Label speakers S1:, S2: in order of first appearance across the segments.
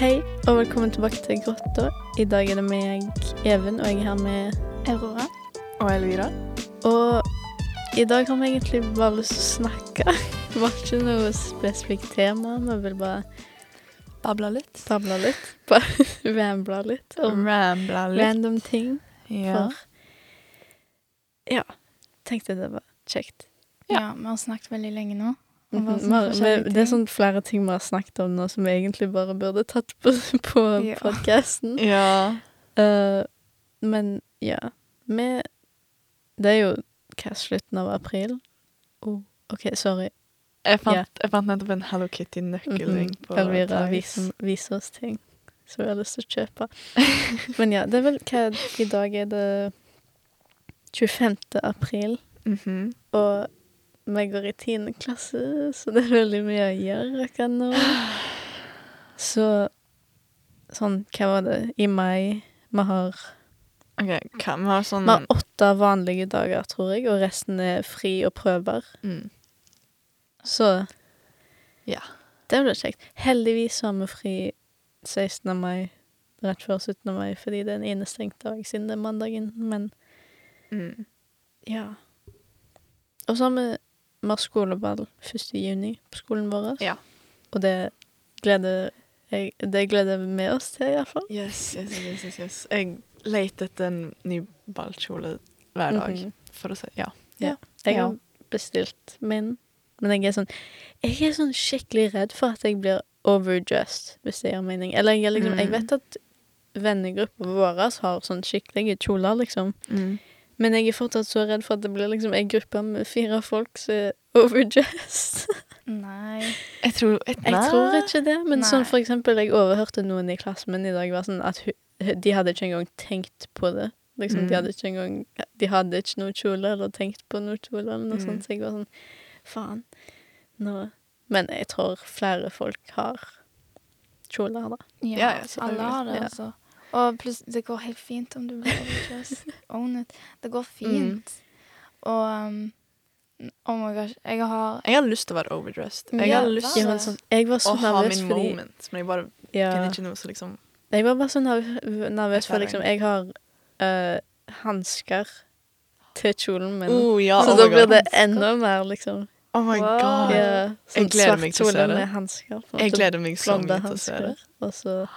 S1: Hei, og velkommen tilbake til Grotta. I dag er det meg, Even, og jeg er her med Aurora.
S2: Og Elvira.
S1: Og i dag har vi egentlig bare lyst til å snakke. Det var ikke noe spesifikt tema, vi vil bare
S2: Babla litt.
S1: babla litt. Bare rambla litt om
S2: Rambla
S1: random ting.
S2: Ja.
S1: For ja, tenkte det var kjekt.
S3: Ja. vi har snakket veldig lenge nå. om hva
S1: Mhm,
S3: som
S1: vi har-
S3: forskjellige
S1: vi- det er
S3: ting.
S1: sånn flere ting vi har snakket om nå som vi egentlig bare burde tatt på, på
S2: Ja.
S1: podkasten.
S2: ja.
S1: Eh, men ja Vi Det er jo hva, slutten av april? Oh, OK, sorry.
S2: Jeg fant,
S1: Ja.
S2: jeg fant nettopp en Hello Kitty-nøkkelring
S1: Mhm.
S2: på
S1: Elvira
S2: Tice.
S1: viser, viser oss ting som vi har lyst til å kjøpe. men ja, det er vel hva I dag er det 25. april,
S2: Mhm.
S1: og vi går i 10. klasse, så det er veldig mye å gjøre akkurat nå. Så sånn, hva var det? I mai vi har
S2: Ok, hva, vi har sånn
S1: Vi har åtte vanlige dager, tror jeg, og resten er fri og prøver.
S2: mm.
S1: Så
S2: Ja.
S1: det blir kjekt. Heldigvis har vi fri 16. mai, rett før 17. mai, fordi det er en innestengt dag siden det er mandagen, men
S2: Mm.
S1: ja. Og så har vi, vi har skoleball 1. juni på skolen vår,
S2: Ja.
S1: og det gleder jeg, det gleder vi oss til, iallfall.
S2: Yes, yes, yes, yes, yes. Jeg leter etter en ny ballkjole hver dag.
S1: Mhm.
S2: For å si Ja.
S1: Jeg
S2: Ja.
S1: har bestilt min, men jeg er sånn Jeg er sånn skikkelig redd for at jeg blir overdressed, hvis det gir mening. Eller jeg, er liksom, jeg
S2: Mm.
S1: vet at vennegruppa vår har sånn skikkelige kjoler, liksom. Men jeg er fortsatt så redd for at det blir liksom ei gruppe med fire folk som er overdressed.
S3: Nei.
S2: Jeg tror
S1: Jeg tror ikke det, men sånn
S3: Nei.
S1: for eksempel, jeg overhørte noen i klassen min i dag var sånn at hu- de hadde ikke engang tenkt på det. Liksom,
S2: Mm.
S1: De hadde ikke engang De hadde ikke noe kjole eller tenkt på noe kjole eller noe
S2: Mm.
S1: sånt, så jeg var sånn Faen. Nå Men jeg tror flere folk har kjoler, da.
S3: Ja,
S2: Ja, ja, selvfølgelig.
S3: alle har det,
S1: Ja.
S3: altså. Og pluss, det går helt fint om du blir overdressed. Own it. Det går fint. Og um, Oh my gosh, jeg har
S2: Jeg har lyst til å være overdressed. Jeg
S3: Ja,
S2: har lyst
S1: Jeg
S2: til
S3: hva?
S1: var, sånn, jeg var så
S2: å ha
S1: nervøs
S2: min
S1: fordi
S2: moment, men jeg bare
S1: ja,
S2: finner ikke noe som liksom
S1: Jeg var bare så nerv- nervøs for
S2: Erfaring.
S1: liksom Jeg har øh, hansker til kjolen min,
S2: Oh, ja,
S1: så
S2: oh
S1: da
S2: my
S1: blir
S2: god.
S1: det enda mer, liksom.
S2: Oh my
S3: Wow.
S2: god.
S3: Ja.
S1: Ja, sånn
S2: gleder
S1: svart
S2: meg til å se
S1: kjole
S2: det.
S1: med hansker. på en
S2: Jeg
S1: måte,
S2: gleder meg så
S1: blonde
S2: mye til å se det.
S1: handsker, Og så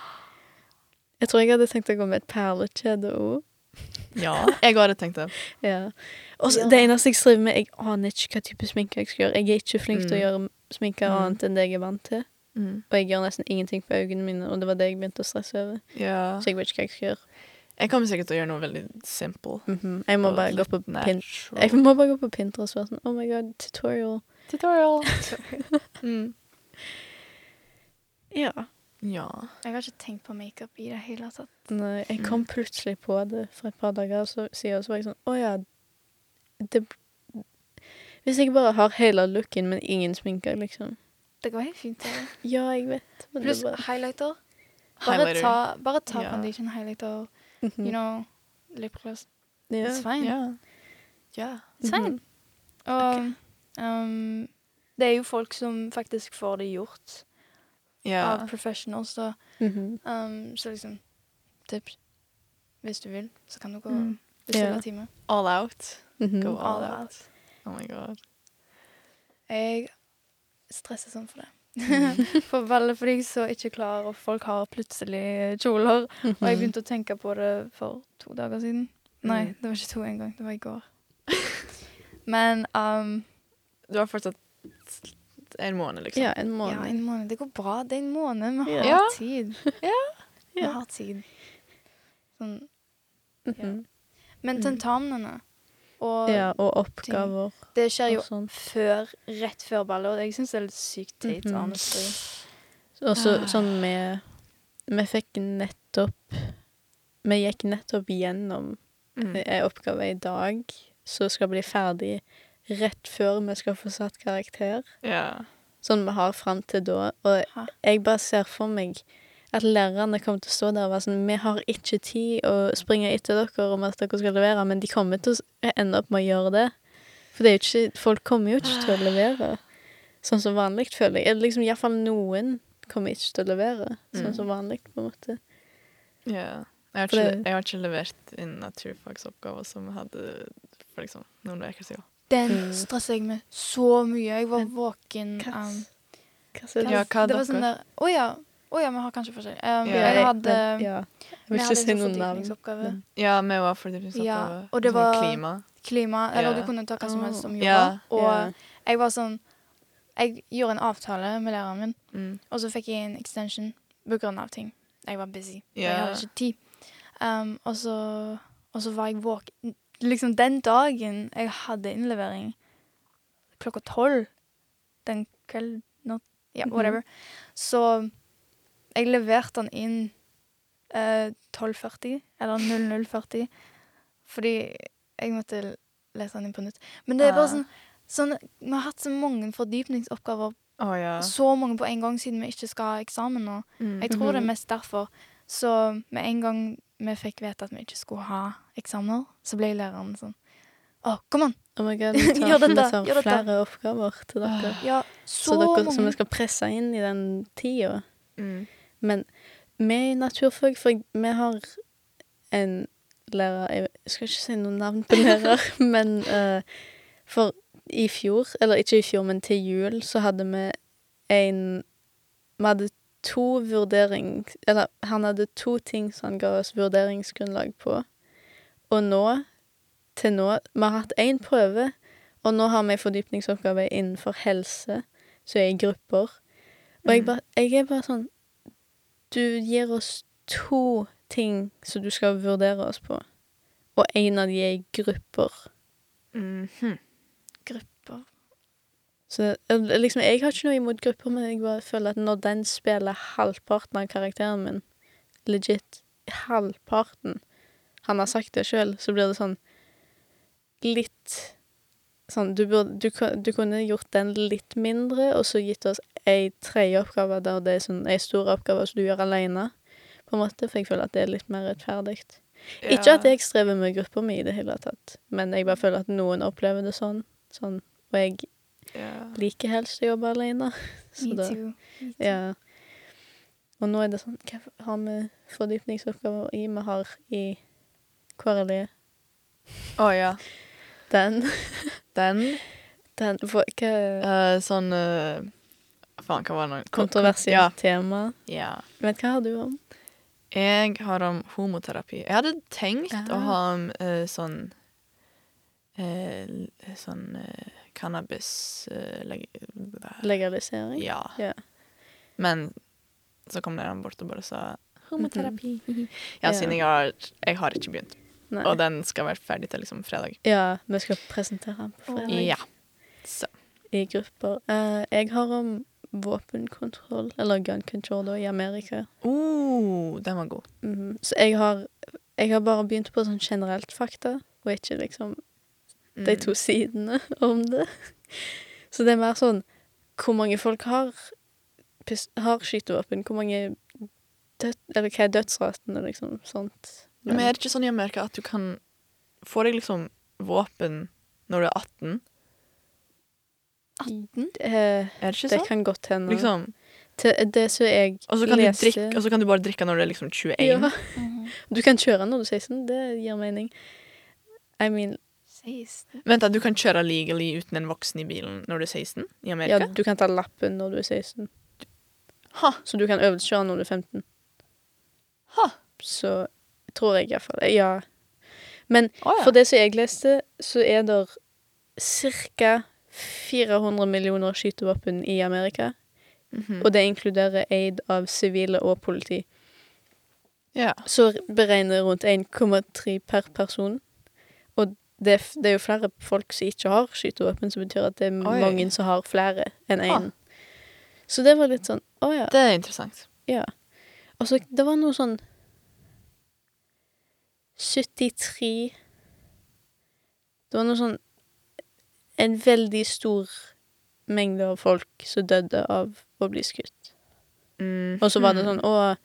S1: Jeg tror jeg hadde tenkt å gå med et perlekjede òg.
S2: Ja, jeg hadde tenkt det.
S1: Ja. Og så
S3: Ja.
S1: det eneste jeg striver med, jeg aner ikke hva type sminke jeg skal gjøre. Jeg er ikke flink til å
S2: Mm.
S1: gjøre sminke
S2: Mm.
S1: annet enn det jeg er vant til. Og jeg gjør nesten ingenting på øynene mine, og det var det jeg begynte å stresse over.
S2: Ja.
S1: Så jeg vet ikke hva jeg skal gjøre.
S2: Jeg kommer sikkert til å gjøre noe veldig simple.
S1: Mhm. Jeg må
S2: Og sånn
S1: bare gå
S2: litt
S1: på pin
S2: natural.
S1: jeg må bare gå på Pinterest og være sånn Oh my god, tutorial.
S2: Tutorial. mm.
S1: Ja.
S2: Ja.
S3: Jeg har ikke tenkt på makeup i det hele tatt.
S1: Nei, jeg kom
S2: Mm.
S1: plutselig på det for et par dager så- siden, og så var jeg sånn Å ja. Det Hvis jeg bare har hele looken, men ingen sminker, liksom.
S3: Det går helt fint. det.
S1: Ja, jeg vet. Men
S3: Pluss
S1: det bare,
S3: highlighter. Bare
S2: Highlighter.
S3: ta, bare ta
S2: Ja.
S3: condition highlighter. ah, You know, lip gloss.
S1: Mm. ja.
S3: It's fine.
S2: Ja. ja.
S3: It's fine.
S1: Mhm.
S3: Og um, det er jo folk som faktisk får det gjort
S2: ja.
S3: av professionals, da.
S1: Mhm.
S3: Um, så liksom tips. Hvis du vil, så kan du gå
S2: Mm.
S3: bestille
S1: Ja.
S3: time.
S2: All out.
S1: Mhm.
S2: Go
S3: All
S2: all, out.
S3: out.
S2: Oh my god.
S3: Jeg stresser sånn for det.
S2: Mm.
S3: for veldig fordi jeg så ikke klar, og folk har plutselig kjoler.
S1: Mhm.
S3: Og jeg begynte å tenke på det for to dager siden. Nei,
S2: Mm.
S3: det var ikke to engang. Det var i går. Men um,
S2: Du har fortsatt en måned, liksom.
S1: Ja, en måned.
S3: ja, en måned. Det går bra. Det er en måned. Vi har
S2: Ja.
S3: tid. Vi
S1: Ja.
S3: har tid. Sånn.
S1: Mhm.
S3: Men
S1: Mm.
S3: tentamenene og
S1: ja, og oppgaver
S3: Det skjer jo
S1: og sånn.
S3: før, rett før ballet, og jeg syns det er litt sykt teit.
S1: Mhm.
S3: honestly.
S1: Og
S3: Ah.
S1: så sånn med Vi fikk nettopp Vi gikk nettopp gjennom
S2: Mm.
S1: ei oppgave i dag som skal bli ferdig rett før vi skal få satt karakter.
S2: ja.
S1: sånn vi har fram til da. Og
S3: Hæ?
S1: jeg bare ser for meg at lærerne kommer til å stå der og være sånn Vi har ikke tid å springe etter dere om at dere skal levere, men de kommer til å s- eh, ende opp med å gjøre det. For det er jo ikke, folk kommer jo ikke til å levere sånn som vanlig, føler jeg. Eller liksom iallfall noen kommer ikke til å levere sånn
S2: Mm.
S1: som vanlig, på en måte.
S2: Ja. Jeg har,
S1: For
S2: ikke,
S1: det-
S2: jeg har ikke levert inn naturfagsoppgaver som jeg hadde for liksom, noen uker siden.
S3: Den
S1: Mm.
S3: stressa jeg med så mye. Jeg var
S1: Men
S3: våken
S1: Hva
S3: um,
S1: hva sier du?
S2: Ja, hva
S3: Det
S2: dere?
S3: var sånn der Å ja. Å ja, vi har kanskje forskjell. Um,
S2: Ja,
S3: Jeg
S1: jeg-
S3: hadde
S1: men- ja. Jeg
S3: vi
S1: vil
S3: hadde
S1: ikke si
S3: sånn
S1: noen navn.
S3: fordypningsoppgave.
S1: men-
S2: Ja, vi var fordypningsoppgave.
S3: Ja, og det
S2: sånn
S3: var-
S2: klima.
S3: Klima. Eller
S2: Ja.
S3: du kunne ta hva som helst som
S2: Ah.
S3: jobba.
S2: Ja.
S3: Og
S1: Ja.
S3: jeg var sånn Jeg gjorde en avtale med læreren min,
S2: Mm.
S3: og så fikk jeg en extension pga. ting. Jeg var busy. og Jeg
S2: Ja.
S3: hadde ikke tid. Um, og, så, og så var jeg våken Liksom den dagen jeg hadde innlevering, klokka tolv den kvelden natt- Ja,
S2: Mhm.
S3: whatever. Så jeg leverte den inn eh, 12.40, eller 00.40, fordi jeg måtte lese den inn på nytt. Men det er bare
S2: Ah.
S3: sånn, sånn Vi har hatt så mange fordypningsoppgaver,
S2: Å ja.
S3: så mange på en gang, siden vi ikke skal ha eksamen nå.
S2: Mm.
S3: Jeg tror det
S1: Mhm.
S3: er mest derfor. Så med en gang vi fikk vite at vi ikke skulle ha eksamener, så ble læreren sånn Å, kom an!
S1: Oh my god, vi tar,
S3: Gjør dette,
S1: vi tar
S3: gjør dette. Ah.
S1: flere oppgaver til dere.
S3: Ja,
S1: Så,
S3: så,
S1: dere som vi
S3: mange.
S1: skal presse inn i den tida.
S2: Mm.
S1: Men vi i naturfag, for jeg- vi har en lærer Jeg skal ikke si noe navn på lærer, men eh, for i fjor, eller ikke i fjor, men til jul, så hadde vi en Vi hadde to vurdering... Eller han hadde to ting som han ga oss vurderingsgrunnlag på. Og nå, til nå Vi har hatt én prøve, og nå har vi en fordypningsoppgave innenfor helse, som er i grupper. Og jeg,
S2: Mm.
S1: bare, jeg er bare sånn Du gir oss to ting som du skal vurdere oss på, og én av de er i grupper.
S2: Mhm.
S3: grupper.
S1: Så eller liksom, jeg har ikke noe imot grupper, men jeg bare føler at når den spiller halvparten av karakteren min, legit halvparten Han har sagt det sjøl, så blir det sånn litt Sånn, du, burde, du, kan- du kunne gjort den litt mindre, og så gitt oss ei tredje oppgave der det er sånn ei stor oppgave som du gjør aleine, på en måte, for jeg føler at det er litt mer rettferdig. Ikke at jeg strever med gruppa mi i det hele tatt, men jeg bare føler at noen opplever det sånn, sånn og jeg
S2: ja.
S1: liker helst å jobbe alene. Så
S3: Me
S1: da,
S3: too. Me too.
S1: ja. Og nå er det sånn Hva har vi fordypningsoppgaver i? Vi har i KRLE
S2: Å ja.
S1: den.
S2: Den
S1: den for, hva
S2: eh, Sånn eh, Faen, hva var det nå?
S1: Kontroversielt
S2: Ja.
S1: tema.
S2: ja.
S1: Men hva har du om?
S2: Jeg har om homoterapi. Jeg hadde tenkt
S1: Ah.
S2: å ha om eh, sånn eh, l- Sånn eh, cannabis eh, leg-
S1: Legalisering?
S2: Ja.
S1: Ja.
S2: Men så kom læreren bort og bare sa homoterapi.
S1: Ja.
S2: Ja, siden jeg har, jeg har ikke begynt.
S1: Nei.
S2: Og den skal være ferdig til liksom fredag.
S1: Ja, vi skal presentere den på fredag.
S2: Ja. Så.
S1: I grupper. Eh, jeg har om våpenkontroll, eller gun control, da, i Amerika.
S2: Oh, den var god.
S1: Mhm. Så jeg har, jeg har bare begynt på sånn generelt fakta, og ikke liksom
S2: Mm.
S1: de to sidene om det. Så det er mer sånn hvor mange folk har, pis- har skytevåpen, hvor mange død, Eller hva er dødsratene, liksom. Sånt.
S2: Men er det ikke sånn i Amerika at du kan få deg liksom våpen når du er 18?
S3: 18?
S1: eh,
S2: Er det ikke
S1: det
S2: sånn?
S1: kan godt hende.
S2: Liksom.
S1: Til eh, det som jeg
S2: Og så kan, du
S1: leste-
S2: drikke, og så kan du bare drikke når du er liksom 21.
S1: ja.
S3: Mhm.
S1: Du kan kjøre når du er 16, det gir mening. I mean,
S3: Sies det.
S2: Vent da, Du kan kjøre legally uten en voksen i bilen når du er 16 i
S1: ja,
S2: Amerika?
S1: du kan ta lappen når du er 16.
S2: Ha,
S1: Så du kan øvelseskjøre når du er 15.
S2: ha.
S1: Så tror jeg iallfall det. Ja. Men
S2: Å, ja.
S1: for det som jeg leste, så er det ca. 400 millioner skytevåpen i Amerika.
S2: Mhm.
S1: Og det inkluderer aid av sivile og politi.
S2: ja.
S1: Så beregner rundt 1,3 per person. Og det, er f- det er jo flere folk som ikke har skytevåpen, som betyr at det er
S2: Oi.
S1: mange som har flere enn
S2: Ah.
S1: én. Så det var litt sånn Å ja.
S2: Det er interessant.
S1: Ja. Og så det var noe sånn 73 Det var noe sånn En veldig stor mengde av folk som døde av å bli skutt.
S2: Mm.
S1: Og så var det sånn Å,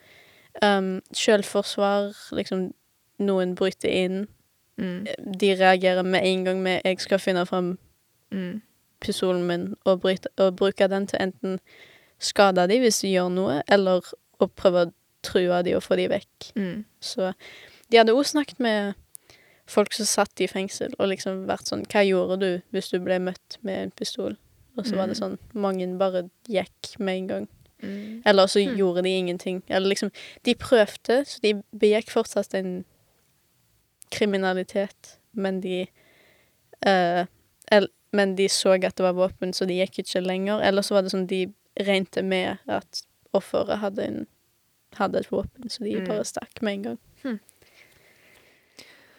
S1: um, selvforsvar Liksom, noen bryter inn. sånn-
S2: Mm.
S1: De reagerer med en gang med 'Jeg skal finne fram
S2: Mm.
S1: pistolen min og, bryte, og bruke den til enten skade de hvis du gjør noe, eller å prøve å true de og få de vekk.
S2: Mm.
S1: Så de hadde også snakket med folk som satt i fengsel, og liksom vært sånn Hva gjorde du hvis du ble møtt med en pistol? Og så var det sånn Mange bare gikk med en gang.
S2: Mm.
S1: Eller så
S2: Hmm.
S1: gjorde de ingenting. Eller liksom De prøvde, så de begikk fortsatt en kriminalitet, men de eh, el, Men de så at det var våpen, så de gikk ikke lenger. Eller så var det sånn de regnet med at offeret hadde, en, hadde et våpen, så de
S2: Mm.
S1: bare stakk med en gang.
S2: Hmm.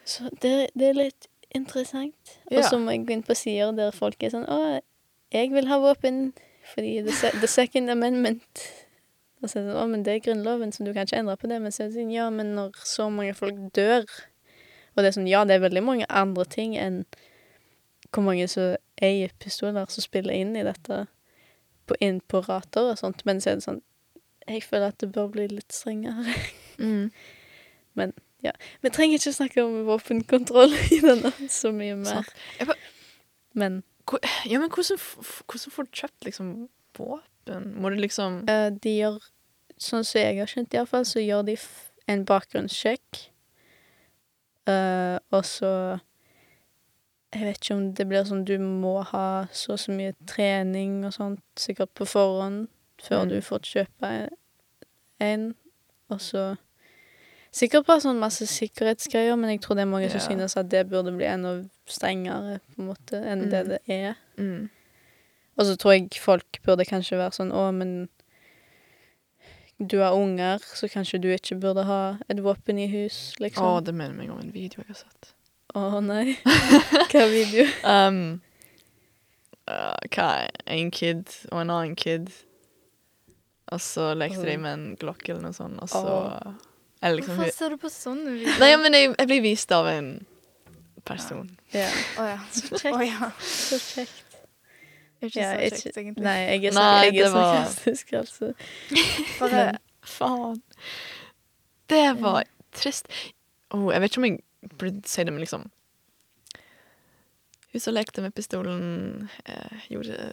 S1: Så det, det er litt interessant.
S2: Ja.
S1: Og så må jeg gå inn på sider der folk er sånn Å, jeg vil ha våpen fordi the, se- the second amendment Og så er det sånn, å, men det er grunnloven, så du kan ikke endre på det. Men så er det sånn, ja, men når så mange folk dør Og det er sånn, ja, det er veldig mange andre ting enn hvor mange som eier pistoler, som spiller inn i dette på, inn på rater og sånt. Men så er det sånn Jeg føler at det bør bli litt strengere.
S2: Mm.
S1: Vi trenger ikke snakke om våpenkontroll i denne så mye mer.
S2: Sant. Jeg bare-
S1: Men
S2: Ja, men hvordan, f- f- hvordan får du kjøpt liksom våpen? Må du liksom
S1: Eh, de gjør, sånn som jeg har skjønt iallfall, så gjør de f en bakgrunnssjekk. Eh, og så Jeg vet ikke om det blir sånn du må ha så og så mye trening og sånt, sikkert på forhånd, før
S2: Mm.
S1: du får kjøpe en- en. Og så Sikkert bare sånn masse sikkerhetsgreier, men jeg tror det er mange som
S2: Ja.
S1: synes at det burde bli enda strengere på en måte enn det
S2: Mm.
S1: det er.
S2: mm.
S1: Og så tror jeg folk burde kanskje være sånn Å, men du har unger, så kanskje du ikke burde ha et våpen i hus,
S2: Å,
S1: liksom.
S2: det minner meg om en video altså. jeg har sett.
S1: Å nei. Hva video?
S2: Um, uh, hva er En kid og en annen kid. Og så lekte de med en glokk eller noe sånt, og så Eller liksom
S3: Hvorfor ser du på sånne videoer?
S2: Nei, men jeg, jeg blir vist av en person.
S1: Ja,
S3: Å ja.
S1: så kjekt.
S3: Å ja.
S1: Så kjekt.
S3: Det er
S1: Ja,
S3: ikke så
S1: ikke-
S3: kjekt, egentlig.
S1: Nei, jeg er,
S2: Nei,
S1: jeg er
S2: det var-
S1: sarkastisk, altså.
S3: Bare
S1: Men-
S2: Faen. Det var trist. Åh, jeg vet ikke om jeg burde si det, men liksom Hun som lekte med pistolen, eh, gjorde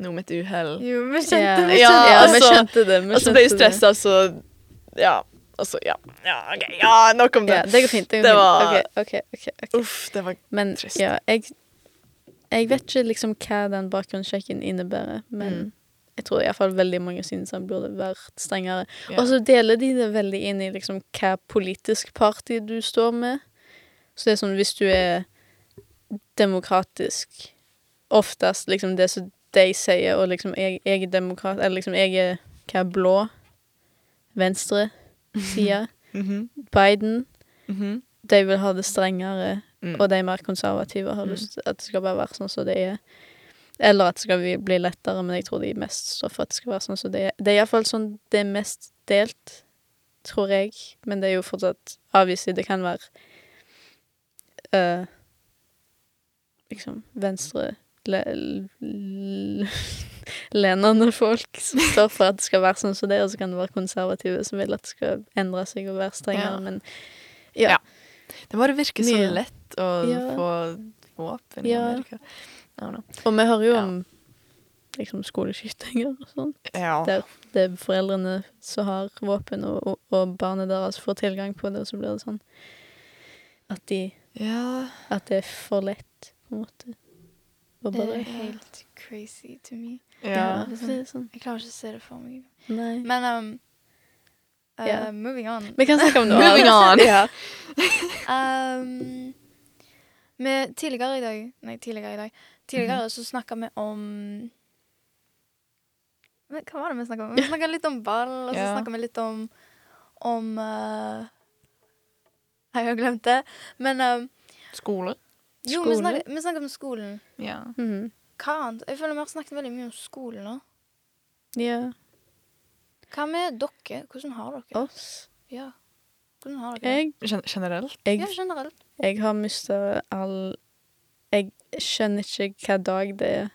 S2: noe med et uhell.
S3: Jo, vi
S1: Ja,
S3: kjente det.
S2: Ja,
S1: ja, vi
S2: altså-
S1: skjønte det. vi
S2: Og så ble jeg
S1: skjønte det.
S2: stressa, så Ja. Og så Ja, ja OK. Ja, nok om
S1: Ja,
S2: det.
S1: det går fint. Det, går
S2: Det
S1: fint. OK, OK. ok, ok.
S2: Uff, det var
S1: Men
S2: Trist.
S1: ja, jeg, jeg vet ikke liksom hva den bakgrunnssjekken innebærer, men
S2: Mm.
S1: jeg tror iallfall veldig mange synes han burde vært strengere.
S2: Ja.
S1: Og så deler de det veldig inn i liksom hva politisk parti du står med. Så det er sånn hvis du er demokratisk Oftest liksom det som de sier, og liksom jeg, jeg er demokrat Eller liksom jeg er hva er blå? Venstre? Sida?
S2: Mhm,
S1: Biden?
S2: mhm,
S1: De vil ha det strengere.
S2: mm.
S1: Og de mer konservative har
S2: Mm.
S1: lyst til at det skal bare være sånn som det er. Eller at det skal bli- bli lettere, men jeg tror de mest står for at det skal være sånn som det er. Det er iallfall sånn det er mest delt, tror jeg. Men det er jo fortsatt avvist. Det kan være eh, liksom venstre le, l- lenende folk som står for at det skal være sånn som det er, og så kan det være konservative som vil at det skal endre seg og være strengere,
S2: Ja.
S1: men
S2: Ja. Det bare virker så
S1: Mye.
S2: lett å
S1: Ja.
S2: få våpen i
S1: Ja.
S2: Amerika. I don't know.
S1: Og vi hører jo
S2: Ja.
S1: om liksom skoleskytinger og sånn.
S2: Ja.
S1: Det, det er foreldrene som har våpen, og, og, og barnet deres får tilgang på det, og så blir det sånn at, de,
S2: ja.
S1: at det er for lett, på en måte. Og
S3: Det
S1: bare
S3: er helt crazy to me.
S1: Ja,
S2: Ja.
S1: for det er sånn.
S3: Jeg klarer ikke å se det for meg.
S1: Nei.
S3: Men um, uh,
S1: Ja.
S3: moving on.
S1: Vi kan snakke om noe
S2: Moving
S1: annet.
S2: on.
S1: Ja.
S3: Um, vi- tidligere i dag Nei, tidligere i dag. Tidligere
S1: Mhm.
S3: så snakka vi om men Hva var det vi snakka om? Vi snakka litt om ball, og så
S2: Ja.
S3: snakket snakka vi litt om Om eh, Jeg har glemt det. Men um,
S2: Skole.
S3: jo, vi
S1: Skole?
S3: snakka, vi snakket om skolen.
S2: Ja.
S1: Mhm.
S3: Hva annet? Jeg føler vi har snakket veldig mye om skolen nå.
S1: ja.
S3: Hva med dere? Hvordan har dere det?
S1: Oss.
S3: Ja. Hvordan har dere det?
S1: Jeg,
S2: Gen generelt.
S1: jeg,
S3: Ja, generelt.
S1: jeg har mista all Jeg skjønner ikke hva dag det er.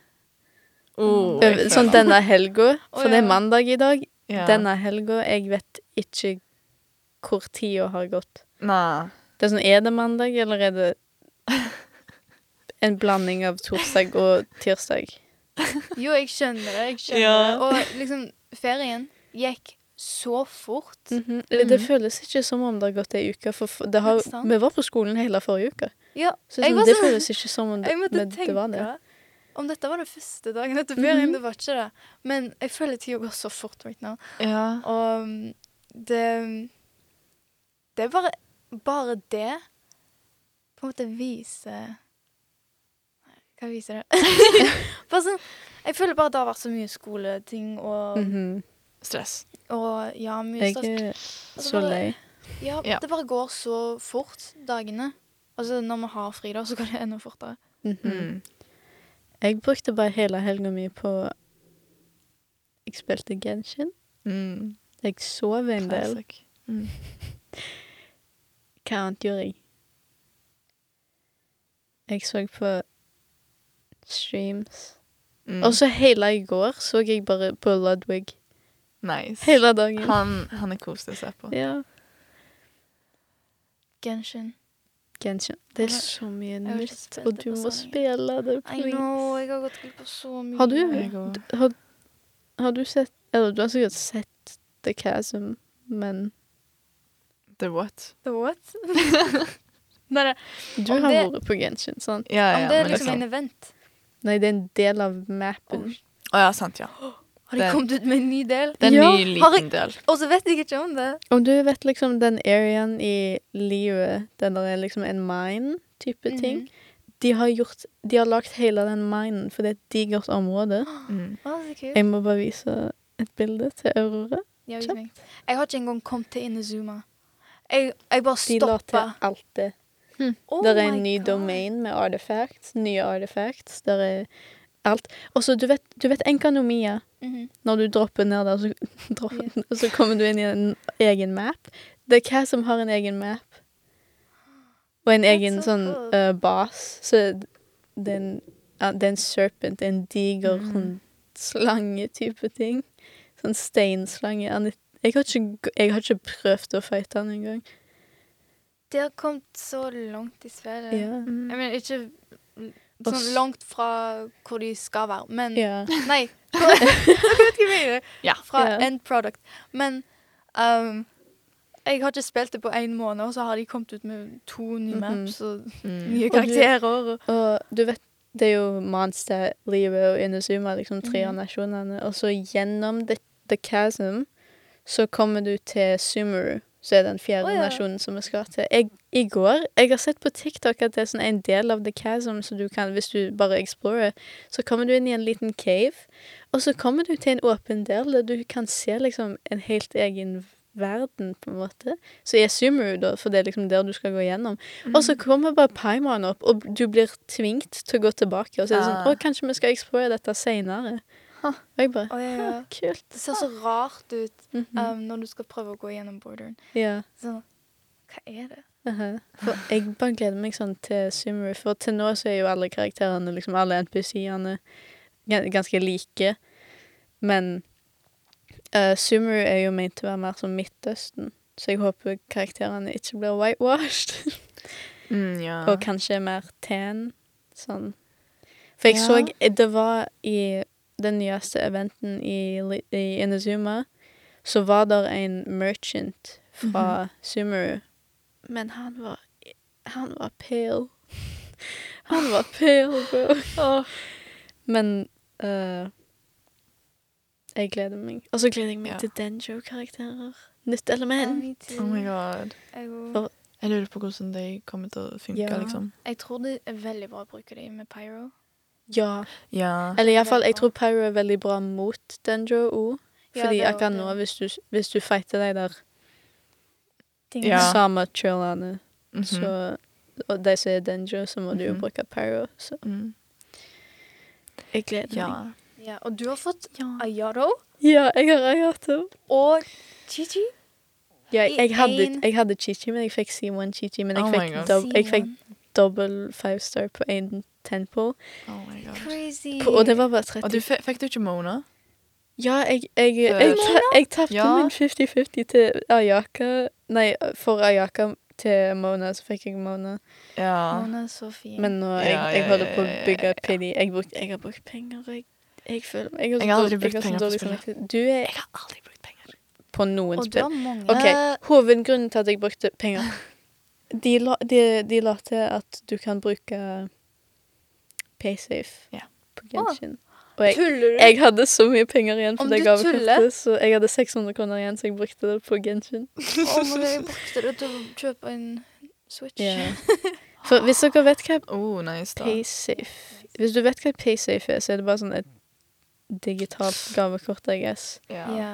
S2: Oh, jeg
S1: Sånn
S2: føler-
S1: denne helga, for
S3: Å,
S1: det er
S3: ja.
S1: mandag i dag.
S2: ja.
S1: Denne helga, jeg vet ikke hvor tida har gått.
S2: Nei.
S1: Det er sånn, er det mandag, eller er det en blanding av torsdag og tirsdag?
S3: Jo, jeg skjønner det. Jeg skjønner
S2: Ja.
S3: det. Og liksom ferien gikk så fort.
S1: Mhm. Det, det
S2: Mhm.
S1: føles ikke som om det har gått ei uke, for f- det har,
S3: Mm. Ikke sant?
S1: vi var på skolen hele forrige uke.
S3: Ja,
S1: Så
S3: Jeg
S1: liksom,
S3: var
S1: det
S3: så-
S1: føles ikke som om det,
S3: jeg måtte
S1: men
S3: tenke
S1: det var det.
S3: om dette var den første dagen etter ferien.
S1: Mhm.
S3: Det var ikke det. Men jeg føler tida går så fort right now.
S2: Ja.
S3: Og um, det mm, Det er bare Bare det på en måte viser Nei, Hva viser det? bare sånn Jeg føler bare det har vært så mye skoleting og,
S1: Mhm.
S2: Stress.
S3: og ja, mye
S1: Jeg
S3: stress.
S1: er
S3: Altså,
S1: så
S3: bare-
S1: lei.
S3: Ja,
S2: Ja.
S3: det bare går så fort, dagene. Altså, når vi har fri, da, så går det enda fortere.
S1: Mhm.
S2: Mm.
S1: Jeg brukte bare hele helga mi på Jeg spilte Genshin.
S2: Mm.
S1: Jeg sov en del.
S2: Classic. Mm.
S1: Hva annet gjorde jeg? Jeg så på streams.
S2: Mm.
S1: Og så hele i går så jeg bare på Ludwig.
S2: nice.
S1: Hele dagen.
S2: Han, han er koselig å se på.
S1: Ja.
S3: Genshin.
S1: Genshin. Det er
S3: Jeg har-
S1: så mye
S3: har ikke
S1: nytt,
S3: spilt
S1: og
S3: det
S1: du
S3: på
S1: må
S3: så lenge.
S1: spille det,
S3: I know,
S1: please.
S3: jeg har gått glipp av så mye.
S1: Har du?
S2: Jeg og-
S1: D- Har, har du sett Eller du har sikkert sett The Chasm, men
S2: The what?
S3: The what? Nei, nei.
S1: Du
S3: Om
S1: har
S3: det-
S1: vært på Genshin, sant?
S2: Ja, ja,
S3: Om det
S2: men
S3: er liksom
S2: liksom-
S3: en event.
S1: Nei, det er en del av mappen.
S3: Oh,
S2: Å ja, sant, ja.
S3: Har de
S2: Det-
S3: kommet ut med en ny del?
S2: Det er en
S1: Ja,
S2: ny,
S3: har
S2: liten del.
S3: Og så vet jeg ikke om det.
S1: Om du vet liksom den areaen i livet den der er liksom en mine-type
S3: Mhm.
S1: ting De har gjort De har lagd hele den minen, for det er et digert område.
S2: Mm.
S3: Å, så kult.
S1: Jeg må bare vise et bilde til Aurora.
S3: Ja, vis meg. Jeg har ikke engang kommet til Inezuma. Jeg, jeg bare
S1: De la til
S3: stoppa.
S1: alt det.
S3: Oh
S1: der er
S3: my
S1: en ny
S3: God.
S1: domain med artifacts, nye artifacts. Der er alt. Og så, du vet, du vet Enkanomia.
S3: Mhm.
S1: Når du dropper ned der, så, dropper, og så kommer du inn i en egen map. Det er hva som har en egen map. Og en
S3: That's
S1: egen
S3: so
S1: sånn
S3: cool.
S1: eh, bas. Så det er en, ja, det er en serpent, en diger
S2: Mm.
S1: sånn slange-type ting. Sånn steinslange. Han er- Jeg har ikke, g- jeg har ikke prøvd å fighte han engang.
S3: De har kommet så langt i spillet.
S1: Ja.
S2: Mm.
S3: Jeg mener, ikke
S1: Og
S3: sånn
S1: s-
S3: langt fra hvor de skal være, men
S1: ja.
S3: Nei. hvor- Jeg vet ikke hva jeg mener.
S2: Ja.
S3: Fra
S1: Ja.
S3: end product. Men um, jeg har ikke spilt det på én måned, og så har de kommet ut med to nye
S1: Mhm.
S3: maps og
S2: Mm.
S3: nye
S1: Og du-
S3: karakterer. Og...
S1: Og du vet, det er jo Monster, Leo og Inazuma, liksom tre av
S3: Mhm.
S1: nasjonene. Og så gjennom The, the Chasm så kommer du til Sumeru, som er den fjerde
S3: Å, ja.
S1: nasjonen som vi skal til. Jeg, I går Jeg har sett på TikTok at det er sånn en del av The Chasm, så du kan, hvis du bare explorer, så kommer du inn i en liten cave, og så kommer du til en åpen del der du kan se liksom en helt egen verden, på en måte. Så er Sumeru, da, for det er liksom der du skal gå gjennom. Og så kommer bare Paimon opp, og du blir tvingt til å gå tilbake. Og så er det sånn Å,
S2: Ah.
S1: kanskje vi skal explore dette seinere. Og jeg bare
S3: Å, ja, ja.
S1: «Hæ, Kult.
S3: Det ser så rart ut
S1: Mhm.
S3: um, når du skal prøve å gå gjennom borderen.
S1: ja.
S3: Sånn, hva er det?
S1: aha. For jeg bare gleder meg sånn til Sumeru, for til nå så er jo alle karakterene, liksom alle NPC-ene, gan- ganske like. Men eh, Sumeru er jo ment til å være mer som Midtøsten, så jeg håper karakterene ikke blir whitewashed.
S2: Mm, ja.
S1: Og kanskje mer tan. Sånn. For jeg
S2: Ja.
S1: så Det var i den nyeste eventen i, Li- i Inazuma, så var der en merchant fra Sumeru. Mhm. Men han var Han var pale. Han var pale, bro. Men eh, jeg gleder meg. Og så gleder jeg meg
S2: Ja.
S1: til Denjo-karakterer. Nytt element.
S3: too.
S2: Oh my god.
S3: Jeg,
S1: For-
S2: Jeg lurer på hvordan de kommer til å funke,
S1: Ja.
S2: liksom.
S3: jeg tror det er veldig bra å bruke dem med Pyro.
S1: Ja.
S2: Ja.
S1: Eller i hvert fall, jeg
S3: Veldig
S1: tror Pyro er veldig bra mot Denjo òg.
S3: Ja,
S1: Fordi
S3: det er jo
S1: akkurat
S3: det.
S1: nå, hvis du, hvis du fighter de der
S3: Ting.
S2: Ja.
S1: samme chillene,
S2: Mhm.
S1: så og de som er Denjo, så må du jo
S2: Mhm.
S1: bruke Pyro. Så
S2: Mm.
S1: jeg gleder meg.
S2: Ja.
S3: Ja, og du har fått
S2: Ja.
S3: Ayado
S1: Ja, jeg har Ayato.
S3: og Chichi.
S1: Ja,
S3: I
S1: jeg, jeg, hadde,
S3: en-
S1: jeg hadde Chichi, men jeg fikk C1 Chichi. Men jeg
S2: Oh my
S1: fikk,
S2: God.
S1: dob jeg fikk
S3: Simon.
S1: double five star på én temple.
S2: Oh my god.
S3: Crazy.
S1: På, og det var bare
S2: Og du
S1: 30
S2: fe- fikk du ikke Mona?
S1: Ja, jeg, jeg, jeg, jeg, ta- jeg tapte
S2: Ja.
S1: min 50-50 til Ayaka Nei, for Ayaka til Mona, så fikk jeg Mona.
S2: Ja.
S3: Hun er så fin.
S1: Men nå,
S2: Ja,
S1: jeg, jeg
S2: ja,
S1: holder
S2: ja,
S1: på å
S2: ja, ja,
S1: bygge
S2: ja.
S1: pity. Jeg, bruk, jeg har brukt penger, og jeg Jeg føler meg Jeg,
S2: Jeg har aldri brukt penger på
S1: spillet. Du er
S2: Jeg har aldri brukt penger.
S1: på noen
S3: Og du
S1: spill.
S3: har mange.
S1: OK, hovedgrunnen til at jeg brukte penger De la, de, de la til at du kan bruke PaySafe
S2: Ja.
S1: på Genshin. Og jeg,
S3: Tuller du?
S1: jeg hadde så mye penger igjen på
S3: Om
S1: det
S3: du tuller?
S1: gavekortet, så jeg hadde 600 kroner igjen, så jeg brukte det på Genshin.
S3: Å, men jeg brukte det til å kjøpe en Switch.
S1: Ja. For hvis dere vet hva
S2: Oh, nice, da.
S1: PaySafe Hvis du vet hva PaySafe er, så er det bare sånn et digitalt gavekort, I guess.
S2: Ja.
S3: Ja.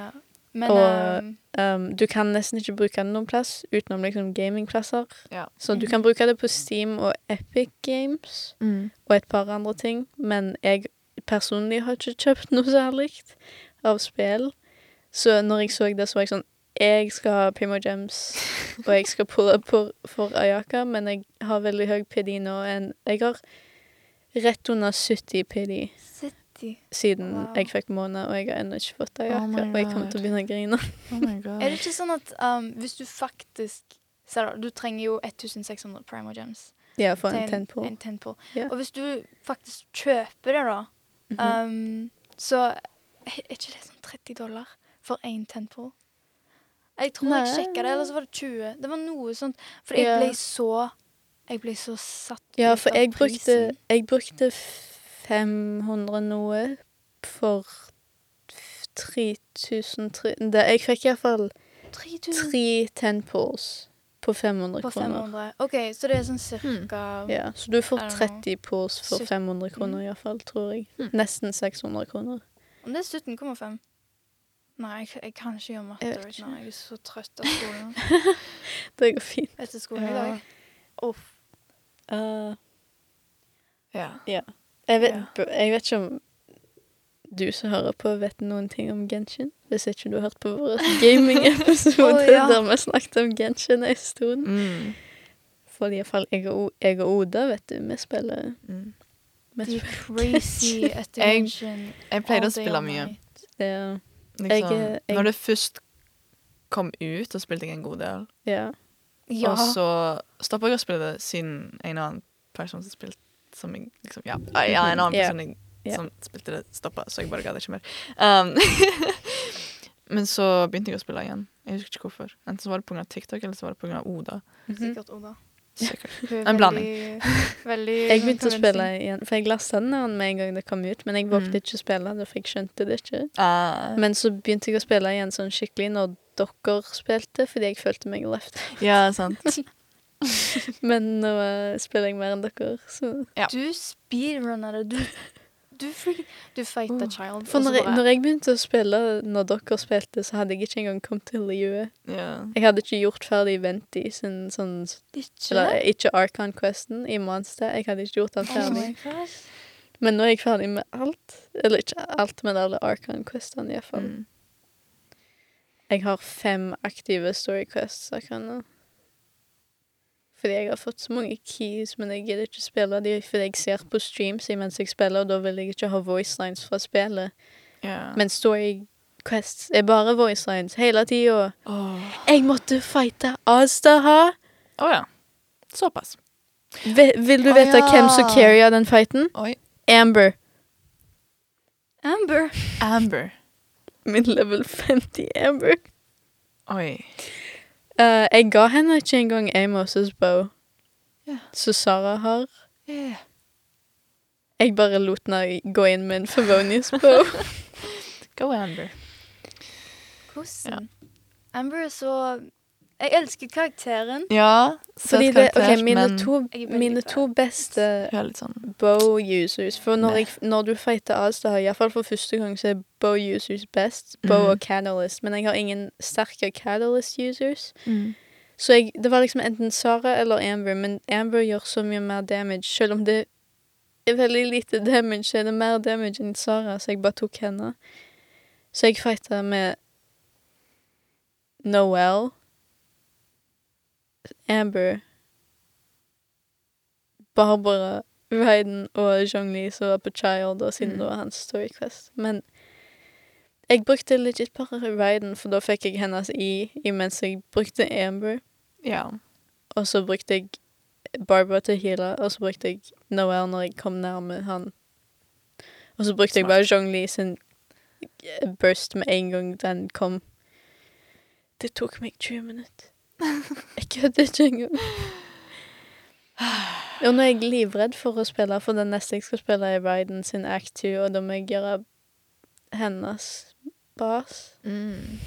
S3: Men
S1: Og-
S3: ehm,
S1: Um, du kan nesten ikke bruke den noen plass utenom liksom gamingplasser.
S2: Ja. Mhm.
S1: Så du kan bruke det på Steam og Epic Games
S2: Mm.
S1: og et par andre ting, men jeg personlig har ikke kjøpt noe særlig av spill. Så når jeg så det, så var jeg sånn Jeg skal ha Pimo Gems, og jeg skal pulle opp for, for Ayaka, men jeg har veldig høy PD nå. En, jeg har rett under 70 PD
S3: City.
S1: siden
S3: Wow.
S1: jeg fikk måned, og jeg har ennå ikke fått Ayaka.
S2: Oh my
S1: og jeg kommer til å begynne å grine.
S2: Oh my god.
S3: Er det ikke sånn at ehm, hvis du faktisk Se da, du trenger jo 1600 primer gems.
S1: Ja, for
S3: til
S1: en tenpo.
S3: En tenpo.
S1: Ja.
S3: Og hvis du faktisk kjøper det, da,
S1: Mhm.
S3: ehm, så er er ikke det sånn 30 dollar for én tenpo? Jeg tror jeg
S1: Nei.
S3: sjekka det, eller så var det 20. Det var noe sånt. For jeg
S1: Ja.
S3: ble så Jeg ble så satt
S1: Ja,
S3: ut
S1: for
S3: av
S1: jeg
S3: prisen.
S1: brukte, jeg brukte f- 500 noe for f- 3300 Det- Jeg fikk iallfall
S3: 3000
S1: tre tenpools på 500
S3: på
S1: kroner. Hmm.
S3: 500. OK, så det er sånn cirka
S1: Ja, så du får
S3: I don't know. Hm.
S1: 30 pools for
S3: Sytt-
S1: 500 kroner iallfall, tror jeg.
S2: Hmm.
S1: Nesten 600 kroner.
S3: Om det er 17,5 Nei, jeg, jeg kan ikke gjøre matte
S1: Jeg vet
S3: right
S1: ikke.
S3: now. Jeg er så trøtt av skolen.
S1: Det går fint.
S3: Etter skolen i dag. Uff. Ah,
S1: Uh,
S2: Ja.
S1: jeg, vet,
S2: Ja.
S1: b- jeg vet ikke om du som hører på, vet noen ting om Genshin? Hvis ikke du har hørt på vår gaming-episode
S3: Å, ja.
S1: der vi snakket om Genshin en stund.
S2: Mm.
S1: Fordi iallfall jeg, og O- jeg og Oda, vet du, vi spiller
S2: Mm.
S1: vi
S3: De
S1: spiller-
S3: crazy attention.
S2: Jeg pleide å spille mye.
S1: Ja.
S2: Liksom,
S1: Jeg, eh, jeg-
S2: Når det først kom ut, så spilte jeg en god del.
S1: ja.
S3: Ja.
S2: Og så stoppa jeg å spille det siden en annen person som spilte som jeg, liksom, ja. Ah, ja, en annen
S1: Ja.
S2: person jeg,
S1: Ja.
S2: som spilte det, stoppa, så jeg bare gadd ikke mer. Um, men så begynte jeg å spille igjen. Jeg husker ikke hvorfor. Enten så var det pga. TikTok, eller så var det pga. Oda.
S3: Sikkert Oda.
S2: Sikkert.
S3: Hun er
S2: En blanding.
S3: veldig- Veldig
S1: Jeg begynte å
S3: convincing.
S1: spille igjen, for jeg lasta den ned med en gang det kom ut, men jeg vågte
S3: Mhm.
S2: Mm.
S1: ikke å spille det, for jeg skjønte det ikke.
S2: Ah,
S1: Men så begynte jeg å spille igjen sånn skikkelig når dere spilte, fordi jeg følte meg left.
S2: ja, sant.
S1: Men nå eh, spiller jeg mer enn dere, så
S2: Ja.
S3: Du speedrunner det. Du, du, freak- du fight the
S2: Uh,
S3: child.
S1: For
S3: og så
S1: når jeg,
S3: bare-
S1: når jeg begynte å spille når dere spilte, så hadde jeg ikke engang kommet til livet.
S2: Ja.
S1: Jeg hadde ikke gjort ferdig Venti sin sånn
S3: Ikke
S1: Eller ikke Archon Questen i Monster. Jeg hadde ikke gjort den
S3: Oh
S1: ferdig.
S3: my god.
S1: Men nå er jeg ferdig med alt. Eller ikke alt, men alle Archon Questene iallfall.
S2: Mm.
S1: Jeg har fem aktive Story Quests akkurat nå. Fordi jeg har fått så mange keys, men jeg gidder ikke spille de fordi jeg ser på streams imens jeg spiller, og da vil jeg ikke ha voice lines fra spillet.
S2: Ja.
S1: Men Story Quests er bare voice lines hele tida.
S2: Åh.
S1: Jeg måtte fighte Astaha!
S2: Å ja. Såpass.
S1: Vil vil du
S2: Å
S1: vite hvem som
S2: ja.
S1: carrya den fighten?
S2: Oi.
S1: Amber.
S3: Amber.
S2: Amber.
S1: min level 50 Amber.
S2: Oi.
S1: Eh, jeg ga henne ikke engang Amos' bow,
S2: Ja.
S1: så Sara har. Jeg bare lot henne gå inn med en Favonius bow.
S2: Go Amber.
S3: Hvordan? Amber er så Jeg elsker karakteren.
S2: Ja, søt
S1: Fordi det,
S2: karakter,
S1: ok, mine,
S2: men
S1: to,
S3: Jeg er veldig
S1: mine
S3: glad.
S1: to beste
S2: hun er litt sånn
S1: bow-users For når,
S2: Nei.
S1: jeg, når du fighter Alstad, iallfall for første gang, så er bow-users best. Bow
S2: Mhm.
S1: og catalyst. Men jeg har ingen sterke catalyst-users. Så jeg, det var liksom enten Sara eller Amber, men Amber gjør så mye mer damage. Selv om det er veldig lite damage, så er det mer damage enn Sara, så jeg bare tok henne. Så jeg fighta med Noel, Amber, Barbara, Ryden og Zhongli, som var på Child, og siden
S2: Mm.
S1: det var hans storyquest. Men jeg brukte legit bare Ryden, for da fikk jeg hennes i, imens jeg brukte Amber.
S2: Ja.
S1: Og så brukte jeg Barbara til å heale, og så brukte jeg Noel når jeg kom nærme han. Og Og så brukte jeg bare Zhongli sin eh, burst med en gang den kom. Det tok meg 20 minutter. Jeg kødder ikke engang. Og nå er jeg livredd for å spille, for den neste jeg skal spille, er Ryden sin Act 2, og da må jeg gjøre hennes bas.
S2: Mm.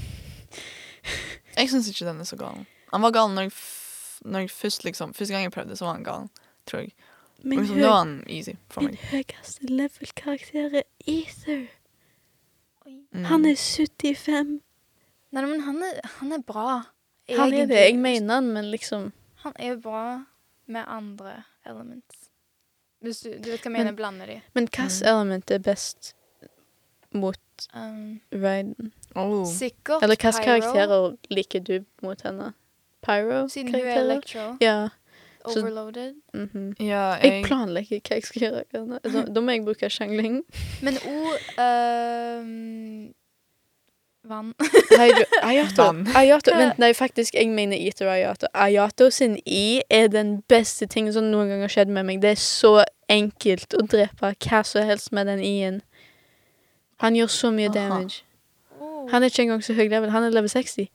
S2: Jeg syns ikke den er så gal. Han var gal når jeg, f når jeg først liksom Første gang jeg prøvde, så var han gal, tror jeg. Og
S1: Min,
S2: liksom, da var
S1: høy,
S2: han easy for
S1: min
S2: meg.
S1: høyeste level-karakter er Ether.
S2: Mm.
S1: Han er 75.
S3: Nei, men han er, han er bra.
S1: Han er
S3: Egentlig.
S1: det. Jeg mener han, men liksom
S3: Han er bra med andre elements. Hvis du, du vet hva jeg
S1: Men-
S3: mener, blander de.
S1: Men hvilket
S2: Mm.
S1: element er best mot
S3: Um,
S1: Ryden?
S2: Oh.
S3: sikkert
S1: Eller hvilke
S3: Pyro,
S1: karakterer liker du mot henne?
S3: Siden hun er
S1: Pyro-karakterer?
S3: electro,
S1: Ja. så-
S3: overloaded.
S1: mhm.
S2: Ja,
S1: Jeg
S2: jeg,
S1: planlegger hva jeg skal gjøre. Anna. Da- Da må jeg bruke sjangling.
S3: Men O um, Vann.
S1: Hei, Ayato.
S2: Vann.
S1: Ayato. Vent, nei, faktisk, jeg mener Eater Ayato. Ayato sin I er den beste tingen som noen gang har skjedd med meg. Det er så enkelt å drepe hva som helst med den I-en. Han gjør så mye
S2: Aha.
S1: damage.
S3: Oh,
S1: Han er ikke engang så høy level. Han er level 60.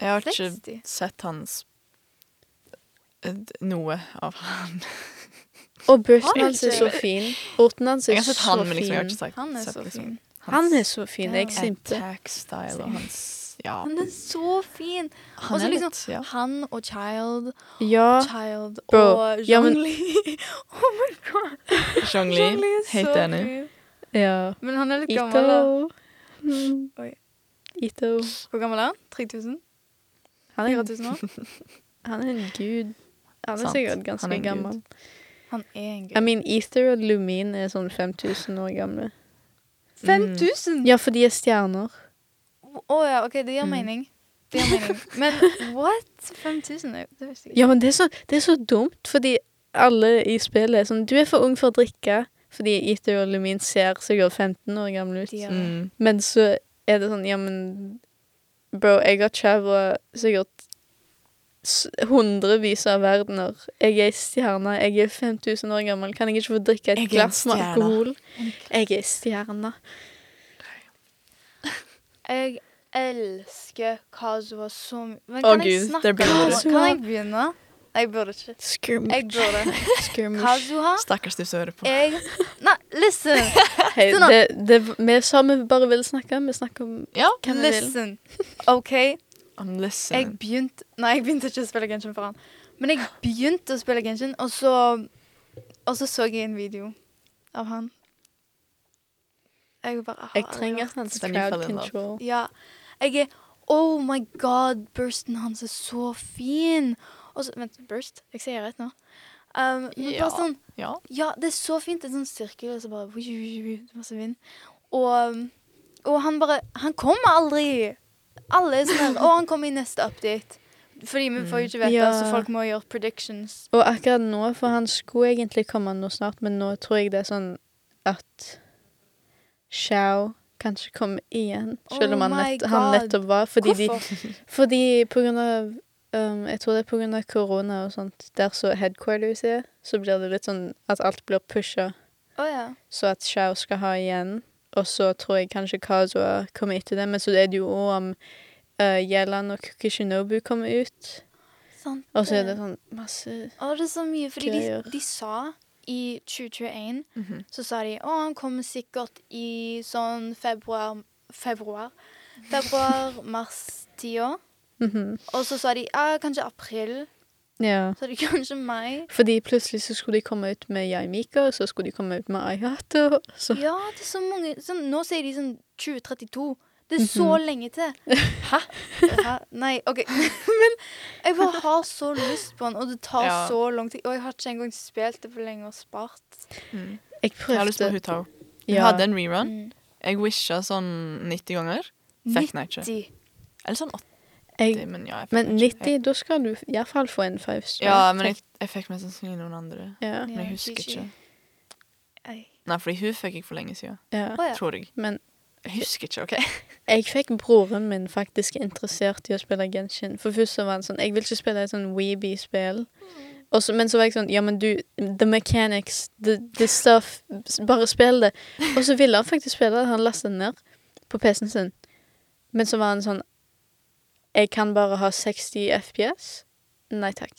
S2: jeg har ikke
S3: 60.
S2: sett hans et- noe av han.
S1: Og bursten
S3: Han er
S1: hans er
S3: ikke-
S1: så fin. Orten hans er
S2: Jeg har sett
S1: så
S2: han, men liksom, jeg har
S1: fin.
S2: ikke sagt,
S3: Han er
S2: sett
S3: så fin.
S1: Han er så fin. Jeg
S3: Ja.
S1: simper.
S2: attack-style og hans Ja.
S3: Han er så fin!
S2: Han
S3: Også
S2: er
S3: liksom-
S2: litt ja.
S3: Han og Child,
S1: Ja.
S3: Child
S1: Bro,
S3: og
S1: ja, men-
S3: Zhongli. oh my god! Zhongli
S2: Shangli.
S3: er
S2: Helt
S3: så
S2: enig.
S3: fin.
S1: ja.
S3: Men han er litt gammel, da.
S1: Ito. Mm.
S3: Oi.
S1: Ito.
S3: Hvor gammel er han? 3000?
S1: Han er,
S3: 4000 år?
S1: han er en gud. Han er
S2: Sant.
S1: sikkert
S2: Han er
S1: ganske
S2: en
S1: gammel.
S3: Han er en
S1: I
S3: gud.
S1: mean, Ether og Lumin er sånn 5000 år gamle.
S2: Mm.
S3: 5000?
S1: Mm. Ja, for de er stjerner.
S3: Å ja, OK, det gir
S1: Mm.
S3: mening. Det gir mening. Men what? 5000? Det det visste jeg ikke.
S1: Ja, men det er så, det er så dumt, fordi alle i spillet er sånn Du er for ung for å drikke, fordi Ether og Lumin ser sikkert 15 år gamle ut.
S3: De gjør det.
S2: Mm.
S1: Men så er det sånn, ja, men Bro, jeg har travela sikkert s- hundrevis av verdener. Jeg er ei stjerne. Jeg er 5000 år gammel. Kan jeg ikke få drikke et
S2: Jeg er en
S1: glass med
S2: stjerne.
S1: alkohol? Jeg er stjerne.
S3: Jeg elsker Kazuha så mye. Men
S2: Å,
S3: kan jeg
S2: Gud,
S3: snakke
S2: der begynner
S3: om
S1: du.
S3: Kan jeg begynne? Jeg burde ikke. Jeg
S1: Skirmish.
S3: burde.
S1: Skirmish.
S3: Kazuha
S2: Stakkars du som hører
S1: Eh,
S2: på.
S3: Jeg Nei, listen!
S1: Hei,
S3: Sånn at-
S1: det, det, vi sa vi bare ville snakke. Vi snakker om
S2: Ja,
S1: hva vi vil.
S3: Listen. OK,
S2: I'm
S3: jeg
S2: listening.
S3: begynte Nei, jeg begynte ikke å spille Genshin for han. Men jeg begynte å spille Genshin, og så Og så så jeg en video av han. Jeg bare har
S1: Jeg
S3: aldri
S1: trenger
S3: vært-
S1: hans
S2: Den jeg
S1: crowd
S2: faller in love.
S1: control.
S3: Ja. Jeg er Oh my god, bursten hans er så fin! Og så Vent, burst? Jeg sier rett nå. Um, men
S2: Ja.
S3: bare sånn
S2: Ja.
S3: Ja, det er så fint. Det er sånn sirkel, og så bare wui, wui, wui, Masse vind. Og, um, og han bare Han kommer aldri! Alle er sånn her Og han kommer i neste update. Fordi vi får jo ikke
S1: Mm.
S3: vite,
S1: Ja.
S3: så folk må gjøre predictions.
S1: Og akkurat nå, for han skulle egentlig komme nå snart, men nå tror jeg det er sånn at Xiao kanskje kommer igjen, selv om
S3: Oh
S1: han,
S3: my
S1: nett, han
S3: God.
S1: nettopp var. Fordi, de,
S3: Hvorfor?
S1: fordi på grunn av um, Jeg tror det er på grunn av korona og sånt. Der så headquarters er, så blir det litt sånn at alt blir pusha,
S3: Å ja.
S1: så at Xiao skal ha igjen. Og så tror jeg kanskje Kazua kommer etter det, men så er det jo òg om uh, Yelan og Kukishinobu kommer ut.
S3: Sant. Eh,
S1: Og så er det sånn masse
S3: Å, det er så mye. Fordi de,
S1: greier.
S3: de sa i 2021
S2: Mhm.
S3: Så sa de å, han kommer sikkert i sånn februar Februar? Februar-mars-tida.
S1: Mhm.
S3: Og så sa de ja, kanskje april.
S1: Ja.
S3: Så sa de kanskje mai.
S1: Fordi plutselig så skulle de komme ut med Yaimika, og så skulle de komme ut med Ayato. og Så.
S3: Ja, det er så mange sånn, Nå sier de sånn 2032. Det er så lenge til. Hæ? Hæ? Nei, OK. Men jeg bare har så lyst på den, og det tar
S2: Ja.
S3: så lang tid. Og jeg har ikke engang spilt det for lenge og spart.
S2: Mm.
S1: Jeg
S2: Jeg har lyst på
S1: prøvde
S2: Hutao. Hun
S1: ja.
S2: hadde en rerun.
S3: Mm.
S2: Jeg wisha sånn 90 ganger. Fikk den ikke.
S3: 90.
S2: Eller sånn 80,
S1: jeg,
S2: men ja. Jeg fikk
S1: Men
S2: den ikke.
S1: 90, da skal du iallfall få en five star.
S2: Ja, men jeg, jeg fikk mest sannsynlig noen andre.
S1: ja,
S2: Men jeg
S3: Ja,
S2: husker
S3: GG.
S2: ikke.
S3: Ei.
S2: Nei, fordi hun fikk jeg for lenge siden.
S1: ja.
S3: Å ja.
S2: Tror jeg.
S1: Men
S2: Jeg husker ikke, OK?
S1: jeg fikk broren min faktisk interessert i å spille Genshin. For først så var han sånn Jeg vil ikke spille et sånn Weeby-spill. Og så- men så var jeg sånn Ja, men du, the mechanics, the, the stuff, s- bare spill det. Og så ville han faktisk spille det. Han lastet det ned på PC-en sin. Men så var han sånn Jeg kan bare ha 60 FPS. Nei takk.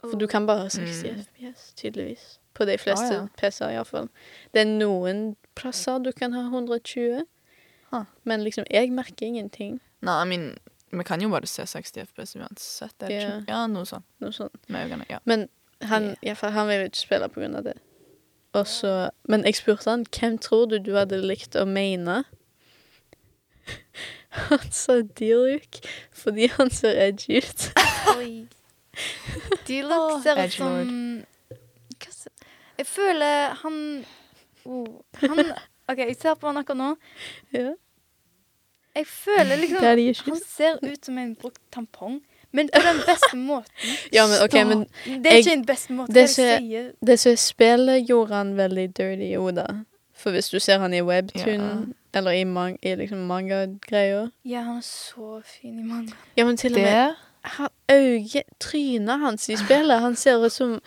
S1: For du kan bare ha 60
S2: Mm.
S1: FPS, tydeligvis. På de fleste
S2: ja.
S1: PC-er, iallfall. Det er noen plasser du kan ha 120,
S2: Huh.
S1: men liksom, jeg merker ingenting.
S2: Nei, I mean, vi kan jo bare se 60 FPS uansett. er det ikke? Ja, noe sånt.
S1: Noe sånt.
S2: Med øynene, ja.
S1: Men han,
S3: Ja.
S1: ja, for han ville ikke spille på grunn av det. Og så, men jeg spurte han hvem tror du du hadde likt å mene. Han sa Diluk fordi han ser edgy ut.
S3: Oi. Dilok ser ut som Hva s- Jeg føler han oh, Han OK, jeg ser på han akkurat nå.
S1: ja.
S3: Jeg føler liksom
S1: Daddy
S3: Han
S1: issues.
S3: ser ut som en brukt tampong, men på den beste måten.
S1: Ja, men OK, men
S3: Det er
S1: Jeg-
S3: ikke en best måte
S1: det
S3: det
S1: ser-
S3: sier.
S1: det som er spillet, gjorde han veldig dirty i hodet. For hvis du ser han i webtoon, eller i, man i liksom manga-greier
S3: Ja, han er så fin i mange
S1: Ja, men til og med han, øye, trynet hans i spillet, han ser ut som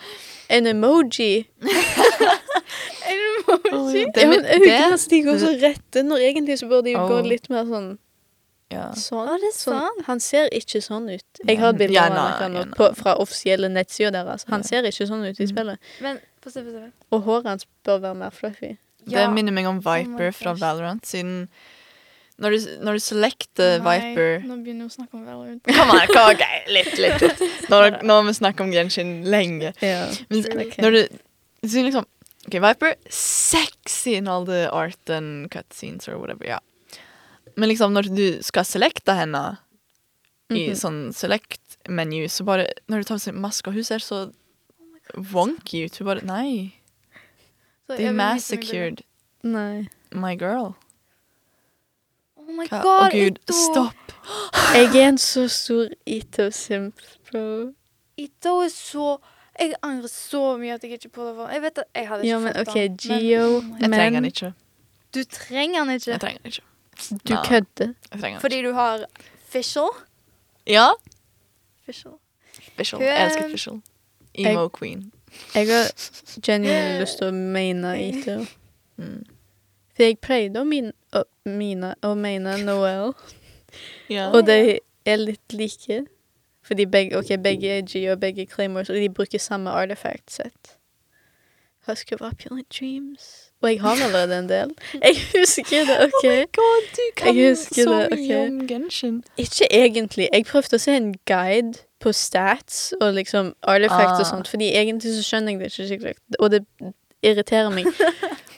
S1: en emoji.
S2: Det-
S1: ja, men
S2: det-
S1: øynene hans de går så rette når egentlig så bør de jo gå
S2: Åh.
S1: litt mer sånn
S2: Ja.
S1: sånn.
S3: Å, det er
S1: sånn. Han ser ikke sånn ut. Jeg har et bilde
S2: Ja,
S1: av han
S2: nei,
S1: akkurat nå
S2: ja, nei.
S1: på- fra offisielle nettsider deres. Han
S2: Ja.
S1: ser ikke sånn ut i
S2: Mm.
S1: spillet.
S3: Men få se, få se.
S1: Og håret hans bør være mer fluffy.
S2: Det minner meg om Viper
S3: my
S2: fra
S3: gosh.
S2: Valorant, siden når du, når du selecter Viper
S3: Nå begynner hun å snakke om Valorant.
S2: Kom an, kom, ok, litt, litt, litt. Nå, nå har vi snakket om Genshin lenge.
S1: Ja.
S2: Men
S1: Ok.
S2: når du sier liksom Ok, Viper, sexy in all the art and cutscenes or whatever, ja. Men liksom når du skal selekte henne i
S1: Mhm.
S2: sånn select-menu, så bare Når du tar på seg maska, hun ser så wonky ut. Hun bare Nei.
S3: Så
S2: They
S3: jeg vil vise meg bildet.
S2: massacred
S1: Nei.
S2: my girl.
S3: Oh my
S2: Hva- Å
S3: god,
S2: gud,
S3: Ito!
S2: stopp.
S1: Jeg er en så stor Ito-simp, bro.
S3: Ito er så Jeg angrer så mye at jeg ikke på det var Jeg vet at jeg hadde ikke
S1: Ja, men
S3: fått
S1: OK,
S3: den, men-
S1: Geo,
S3: Oh my-
S2: Jeg trenger den
S1: men
S2: ikke.
S3: Du trenger den ikke.
S2: Jeg trenger den ikke.
S1: du
S2: Nei,
S1: kødder.
S2: Jeg trenger den ikke.
S3: Fordi du har Fischl.
S2: Ja,
S3: Fischl.
S2: Fishel.
S3: Hun
S2: Jeg
S3: er-
S2: elsker Fishel. Emo queen.
S1: Jeg har genuinely lyst til å mene Ito.
S2: Mm.
S1: For jeg pleide å min- å mine å mene Noel.
S2: Ja.
S1: Og de er litt like. Fordi begge, ok, begge er G og begge er Claymores, og de bruker samme artifact sett. Husk of opulent dreams. Og jeg har allerede en del. Jeg husker det, OK?
S2: Oh god, du
S1: kan Jeg husker så det, mye ok.
S2: om Genshin.
S1: Ikke egentlig. Jeg prøvde å se en guide på stats og liksom artifact og
S2: Ah.
S1: sånt, fordi egentlig så skjønner jeg det ikke skikkelig, og det irriterer meg.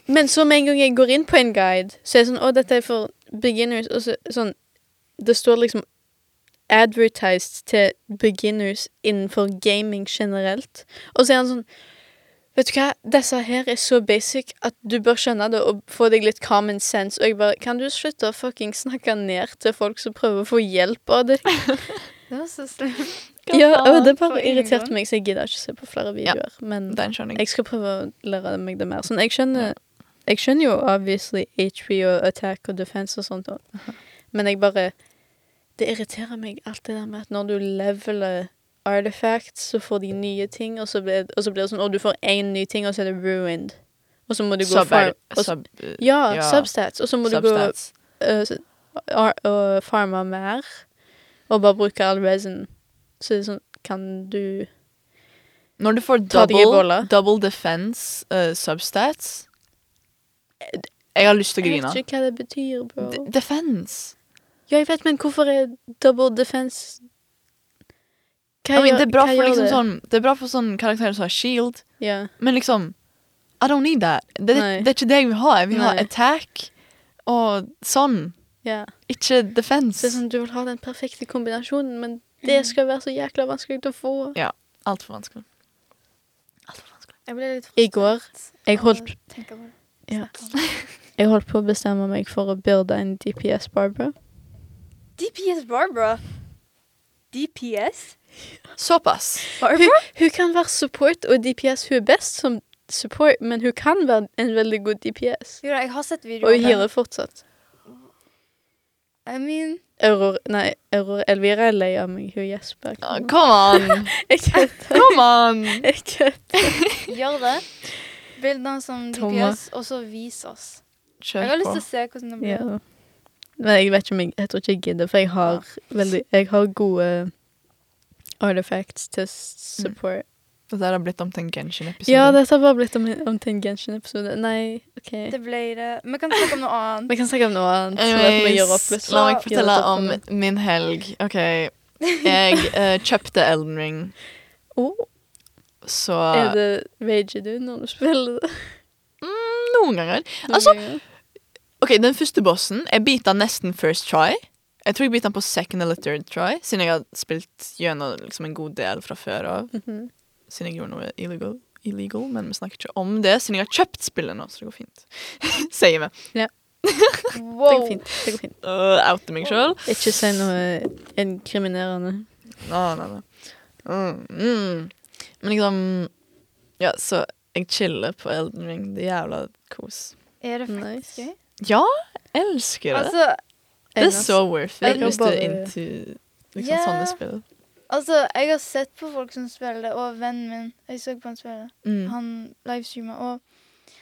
S1: Men så med en gang jeg går inn på en guide, så er det sånn Å, dette er for beginners. Og så sånn Det står liksom advertised til beginners innenfor gaming generelt. Og så er han sånn Vet du hva, disse her er så basic at du bør skjønne det og få deg litt common sense. Og jeg bare Kan du slutte å fucking snakke ned til folk som prøver å få hjelp av deg?
S3: Det var så slemt.
S1: Ja, og det
S3: altså, for
S1: bare
S3: ingen
S1: irriterte
S3: grunn.
S1: meg, så jeg gidder ikke se på flere
S2: Ja,
S1: videoer. Men
S2: Den skjønner jeg.
S1: jeg skal prøve å lære meg det mer. Sånn, jeg skjønner Jeg skjønner jo obviously HP og attack og defense og sånt også.
S2: Uh-huh.
S1: Men jeg bare Det irriterer meg alt det der med at når du leveler artifacts, så får de nye ting, og så blir, og så blir det sånn Å, du får én ny ting, og så er det ruined. Og så må du gå
S2: Sub,
S1: farm... Og, så-
S2: sub,
S1: ja,
S2: ja.
S1: substats. Og så må du gå
S2: substats.
S1: eh, så- ar- og farme mer, og bare bruke all resin. Så det er sånn Kan du
S2: Når du får
S1: Ta de i bolla.
S2: double, double defense eh, substats eh, Jeg har lyst til å
S1: Jeg
S2: grine.
S1: vet ikke hva det betyr, bro.
S2: D- defense.
S1: Ja, jeg vet, men hvorfor er double defense Hva
S2: I mean, det, er bra
S1: hva
S2: for
S1: gjør
S2: liksom sånn, det er bra for sånn karakterer som har shield,
S1: Ja.
S2: men liksom I don't need that. Det,
S1: Nei.
S2: det er ikke det jeg vil ha. Jeg vil ha
S1: Nei.
S2: attack og sånn.
S1: ja.
S2: Ikke
S1: Så det
S2: defense.
S1: er sånn, du vil ha den perfekte kombinasjonen, men det skal være så jækla vanskelig å få.
S2: Altfor vanskelig. Alt for vanskelig.
S3: Jeg ble litt
S1: I går, jeg holdt,
S3: Tenker på det.
S1: ja,
S3: Snakker om det.
S1: jeg holdt på å bestemme meg for å builde en DPS Barbara.
S3: DPS Barbara. DPS
S2: Såpass.
S3: Barbara?
S1: Hun kan være support og DPS. Hun er best som support, men hun kan være en veldig god DPS.
S3: Jo, da, jeg har sett videoer.
S1: Og
S3: av
S1: hun healer fortsatt.
S3: I mean
S1: Aurora, nei, Aurora Elvira er lei av meg. Hun gjesper.
S2: Ah, Come on!
S1: Jeg kødder.
S2: Come on!
S1: Jeg kødder.
S3: Gjør det. Bildene som de
S1: Thomas.
S3: gjøres, og så vis oss. Jeg har
S2: Kjør
S3: lyst
S2: på.
S3: til å se hvordan det blir.
S1: Ja. Men jeg vet ikke om jeg, jeg tror ikke jeg gidder, for jeg har, veldig, jeg har gode artifacts til
S2: Mm.
S1: support.
S2: Dette her har blitt om til en Genshin-episode.
S1: Ja, dette har bare blitt om, om til en Genshin-episode. Nei, OK.
S3: Det ble det. Vi kan snakke om noe annet.
S1: Vi kan snakke om noe annet. sånn at vi gjør opp litt.
S2: Anyways, liksom. la meg
S3: Så-
S2: fortelle
S1: Gjør
S2: om
S1: det opp
S2: min helg. OK. Jeg eh, kjøpte Elden Ring,
S1: Oh,
S2: så
S1: er det rager du når du spiller det?
S2: Noen ganger. Altså- OK, den første bossen Jeg beat den nesten first try. Jeg tror jeg beat den på second eller third try, siden jeg har spilt gjennom liksom, en god del fra før av.
S1: Mhm.
S2: Siden jeg gjorde noe illegal, illegal men vi snakker ikke om det, siden jeg har kjøpt spillet nå, så det går fint. Sier vi.
S1: Det
S3: Wow.
S1: går fint. det går fint.
S2: Uh, outer meg sjøl.
S1: Ikke si noe inkriminerende.
S2: Nei, nei, nei. Mm, mm. Men liksom Ja, så jeg chiller på Elden Ring. Det er jævla kos.
S3: Er det
S1: Nice.
S3: faktisk gøy?
S2: Ja, elsker det.
S3: Altså,
S2: det er
S1: Ennast.
S2: så worth it
S1: Jeg
S2: hvis du
S1: bare-
S2: er into liksom,
S3: Ja.
S2: sånne spill.
S3: altså, jeg har sett på folk som spiller det, og vennen min Jeg så på han spille.
S2: Mm.
S3: Han livestreamer, og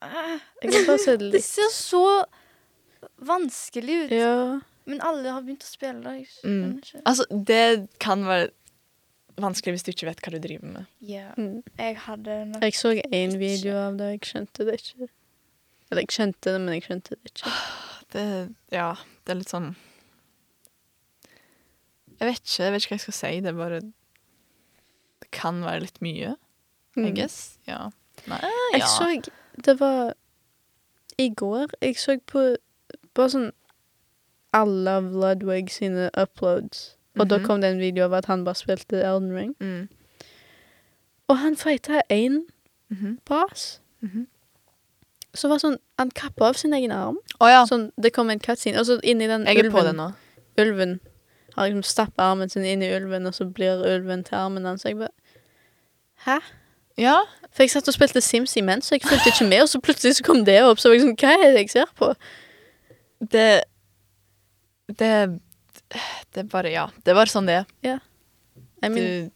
S3: Ah,
S1: Jeg kan bare se det
S3: Det
S1: litt.
S3: ser så vanskelig ut.
S1: Ja.
S3: Men alle har begynt å spille det. Jeg skjønner
S2: Mm.
S3: ikke.
S2: Altså, det kan være vanskelig hvis du ikke vet hva du driver med.
S3: Ja,
S1: Mm.
S3: jeg hadde nok
S1: Jeg så én video av det, jeg skjønte det ikke. Eller jeg skjønte det, men jeg skjønte det ikke.
S2: Det, ja, det er litt sånn Jeg vet ikke, jeg vet ikke hva jeg skal si. Det er bare Det kan være litt mye, I
S1: Mm.
S2: guess. Ja. Nei,
S1: Jeg
S2: ja.
S1: så Det var i går. Jeg så på bare sånn alle av Ludwig sine uploads. Og da
S2: Mhm.
S1: kom det en video av at han bare spilte Elden Ring.
S2: Mm.
S1: Og han fighta én
S2: Mhm.
S1: bas
S2: Mhm.
S1: som var sånn Han kappa av sin egen arm.
S2: Å ja.
S1: Sånn, det kom en cutscene. Og så inni den
S2: Jeg er på
S1: ulven
S2: det nå.
S1: Ulven har liksom stappa armen sin inn i ulven, og så blir ulven til armen hans. Jeg bare Hæ?
S2: Ja.
S1: For jeg satt og spilte Sims imens, så jeg fulgte ikke med, og så plutselig så kom det opp. Så var jeg sånn, hva er det jeg ser på?
S2: Det Det Det er bare Ja. Det er bare sånn det er.
S1: I
S2: Du
S1: mean,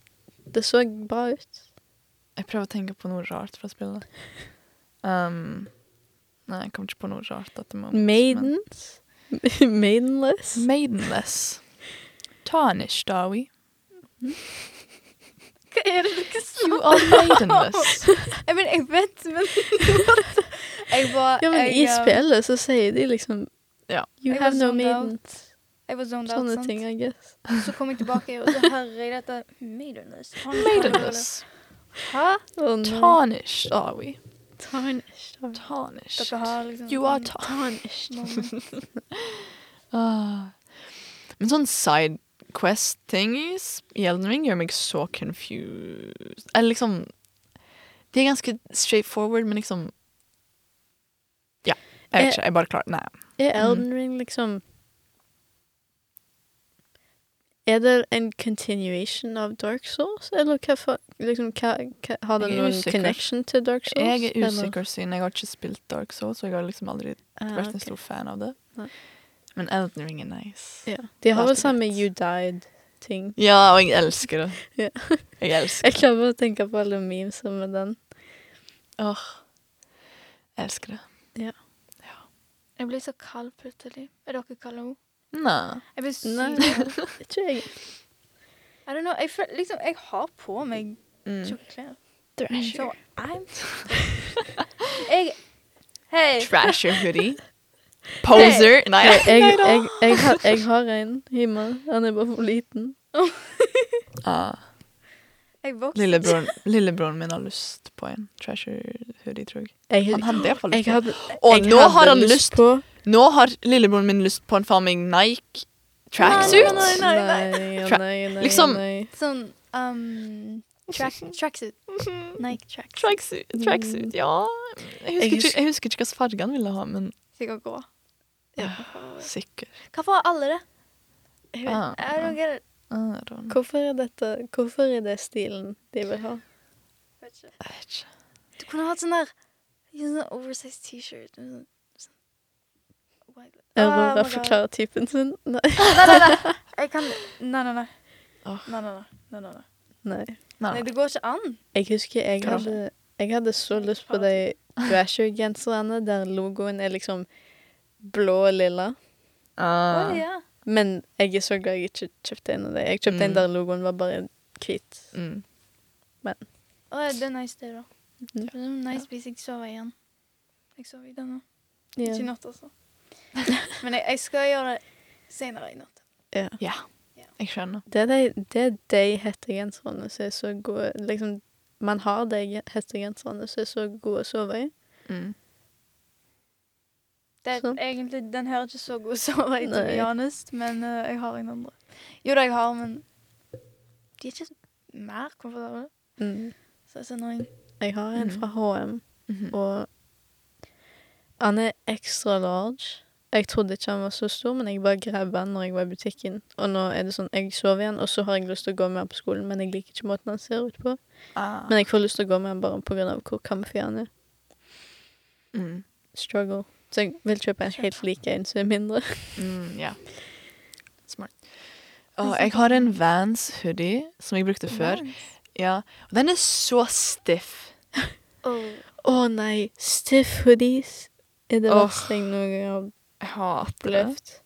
S1: det så bra ut.
S2: Jeg prøver å tenke på noe rart fra spillet. Um, nei, jeg kom ikke på noe rart. at det må-
S1: Maidens. Maidenless.
S2: men- Maidenless. Tarnished are we?
S3: Hva er det dere
S2: You
S3: snakker
S2: are maidenless.
S3: Jeg mener, jeg vet, men Jeg var
S1: Ja, men
S3: jeg,
S1: i
S3: um,
S1: spillet så sier de liksom
S2: eh, Ja. sånn
S1: You
S3: Jeg
S1: have
S3: var
S1: no
S3: zoned
S1: maiden.
S3: Jeg var zoned out,
S1: Sånne
S3: sant?
S1: ting, I guess.
S3: Så kom jeg tilbake, og så hører jeg dette Maidenless.
S2: Maidenless.
S3: Hæ?
S1: Oh, no.
S2: Tarnished are we?
S1: Tarnished. Tarnished.
S2: Tarnished.
S3: Dere har liksom
S2: You are
S3: en
S2: tarnished.
S1: Tarnished.
S3: moment.
S2: Ah. Men sånn side quest-ting i s- i Elden Ring gjør meg så confused. Eller liksom De er ganske straightforward, men liksom Ja. Jeg vet
S1: Eh,
S2: ikke. Jeg bare klarer Nei.
S1: Er Elden Ring liksom Er det en continuation av Dark Souls, eller hva for liksom, hva, hva, Har det
S2: Jeg er
S1: noen
S2: usikker.
S1: connection til Dark Souls?
S2: Jeg er
S1: eller?
S2: usikker, siden jeg har ikke spilt Dark Souls, så jeg har liksom aldri
S1: Ah,
S2: vært en
S1: ok.
S2: stor fan av det.
S1: Nei.
S2: Men Elden Ring er nice.
S1: Ja. De har vel
S2: Alltid
S1: samme
S2: litt.
S1: You Died-ting.
S2: Ja, og jeg elsker det.
S1: Ja.
S2: Jeg elsker
S1: Jeg
S2: det.
S1: klarer bare å tenke på alle memes med den.
S2: Åh. Jeg elsker det.
S3: Jeg blir så kald plutselig. Er dere kalde òg?
S2: Nei.
S3: Jeg blir sykt
S1: Nei.
S3: kald.
S1: Ikke jeg.
S3: I don't know. Jeg føler liksom Jeg har på meg
S2: Mm.
S3: tjukke klær.
S2: Thrasher.
S3: So I'm Jeg Hei.
S2: Trasher hoodie. Poser. Nei.
S1: Jeg, jeg, jeg, jeg, har, jeg har en hjemme. Han er bare for liten.
S2: Ah,
S3: Jeg vokste
S2: lillebroren, lillebroren min har lyst på en trasher hoodie, tror jeg.
S1: Jeg,
S2: Han hadde i hvert fall
S1: jeg
S2: lyst på en.
S1: hadde,
S2: Og
S1: jeg
S2: nå
S1: hadde
S2: har han lyst
S1: på
S2: Nå har lillebroren min lyst på en farming Nike tracksuit.
S3: Nei, nei, nei.
S1: ja,
S2: Tra-
S1: nei, nei,
S2: liksom-
S1: nei.
S3: sånn um, track, tracksuit. Nike tracksuit.
S2: Tracksuit, tracksuit, ja. Jeg
S1: Jeg
S2: husker, ikke,
S1: husker-
S2: jeg husker ikke hvilken farge han ville ha, men
S3: Sikkert grå.
S2: Ja.
S3: Hvorfor-
S2: sikker.
S3: Hvorfor har alle det? Jeg vet-
S2: Ah,
S3: I don't get it.
S2: I don't know.
S1: Hvorfor er dette Hvorfor er det stilen de vil ha?
S3: Vet ikke.
S2: Jeg vet ikke.
S3: Du kunne hatt sånn der en sånn oversized T-shirt. med sånn- sånn- Wow.
S1: Aurora
S3: my God.
S1: forklarer typen sin. Nei.
S3: Nei, nei, nei. Jeg kan Nei, nei, nei.
S2: Åh. Ah.
S3: Nei, nei, nei. nei, nei, nei.
S1: Nei.
S3: nei det går ikke an.
S1: Jeg husker jeg
S2: Kanskje.
S1: hadde, jeg hadde så lyst på de Thrasher-genserne der logoen er liksom blå og lilla.
S3: Å,
S2: Ah.
S3: ja.
S1: Men jeg er så glad jeg ikke kjøpte en av de. Jeg kjøpte en
S2: Mm.
S1: der logoen var bare hvit.
S2: Mm.
S3: Å, ja, det er nice, det, da.
S1: Ja.
S2: Mm.
S3: Det er nice hvis jeg sover igjen. Jeg sover i denne.
S1: Ja.
S3: Ikke i natt, altså. Men jeg, jeg skal gjøre det senere i natt.
S2: Ja. Jeg skjønner.
S1: Det er de, det er de hettegenserne som er så gode liksom, Man har de gen- hettegenserne som er så gode å sove i.
S2: Mm.
S3: Det er
S1: Sånn.
S3: egentlig, den her er ikke så god å sove i, to
S1: Nei.
S3: be honest, men eh, jeg har en andre. Jo da, jeg har, men de er ikke så- mer komfortable.
S1: Mm.
S3: Så det er så annoying.
S1: Jeg har en
S2: Mhm.
S1: fra HM,
S2: Mhm.
S1: og han er ekstra large. Jeg trodde ikke han var så stor, men jeg bare grabba han når jeg var i butikken. Og nå er det sånn, jeg sover igjen, og så har jeg lyst til å gå med han på skolen, men jeg liker ikke måten han ser ut på.
S2: Ah.
S1: Men jeg får lyst til å gå med han bare pga. hvor comfy han er.
S2: Mm.
S1: Struggle. Så jeg vil kjøpe en helt lik en som er mindre.
S2: Mm, ja. Smart. Og jeg har en Vans hoodie som jeg brukte før. Ja, og den er så stiff.
S3: Åh.
S1: Å nei, stiff hoodies er det
S2: Åh.
S1: verste jeg noen gang har
S2: Jeg hater det.
S1: opplevd.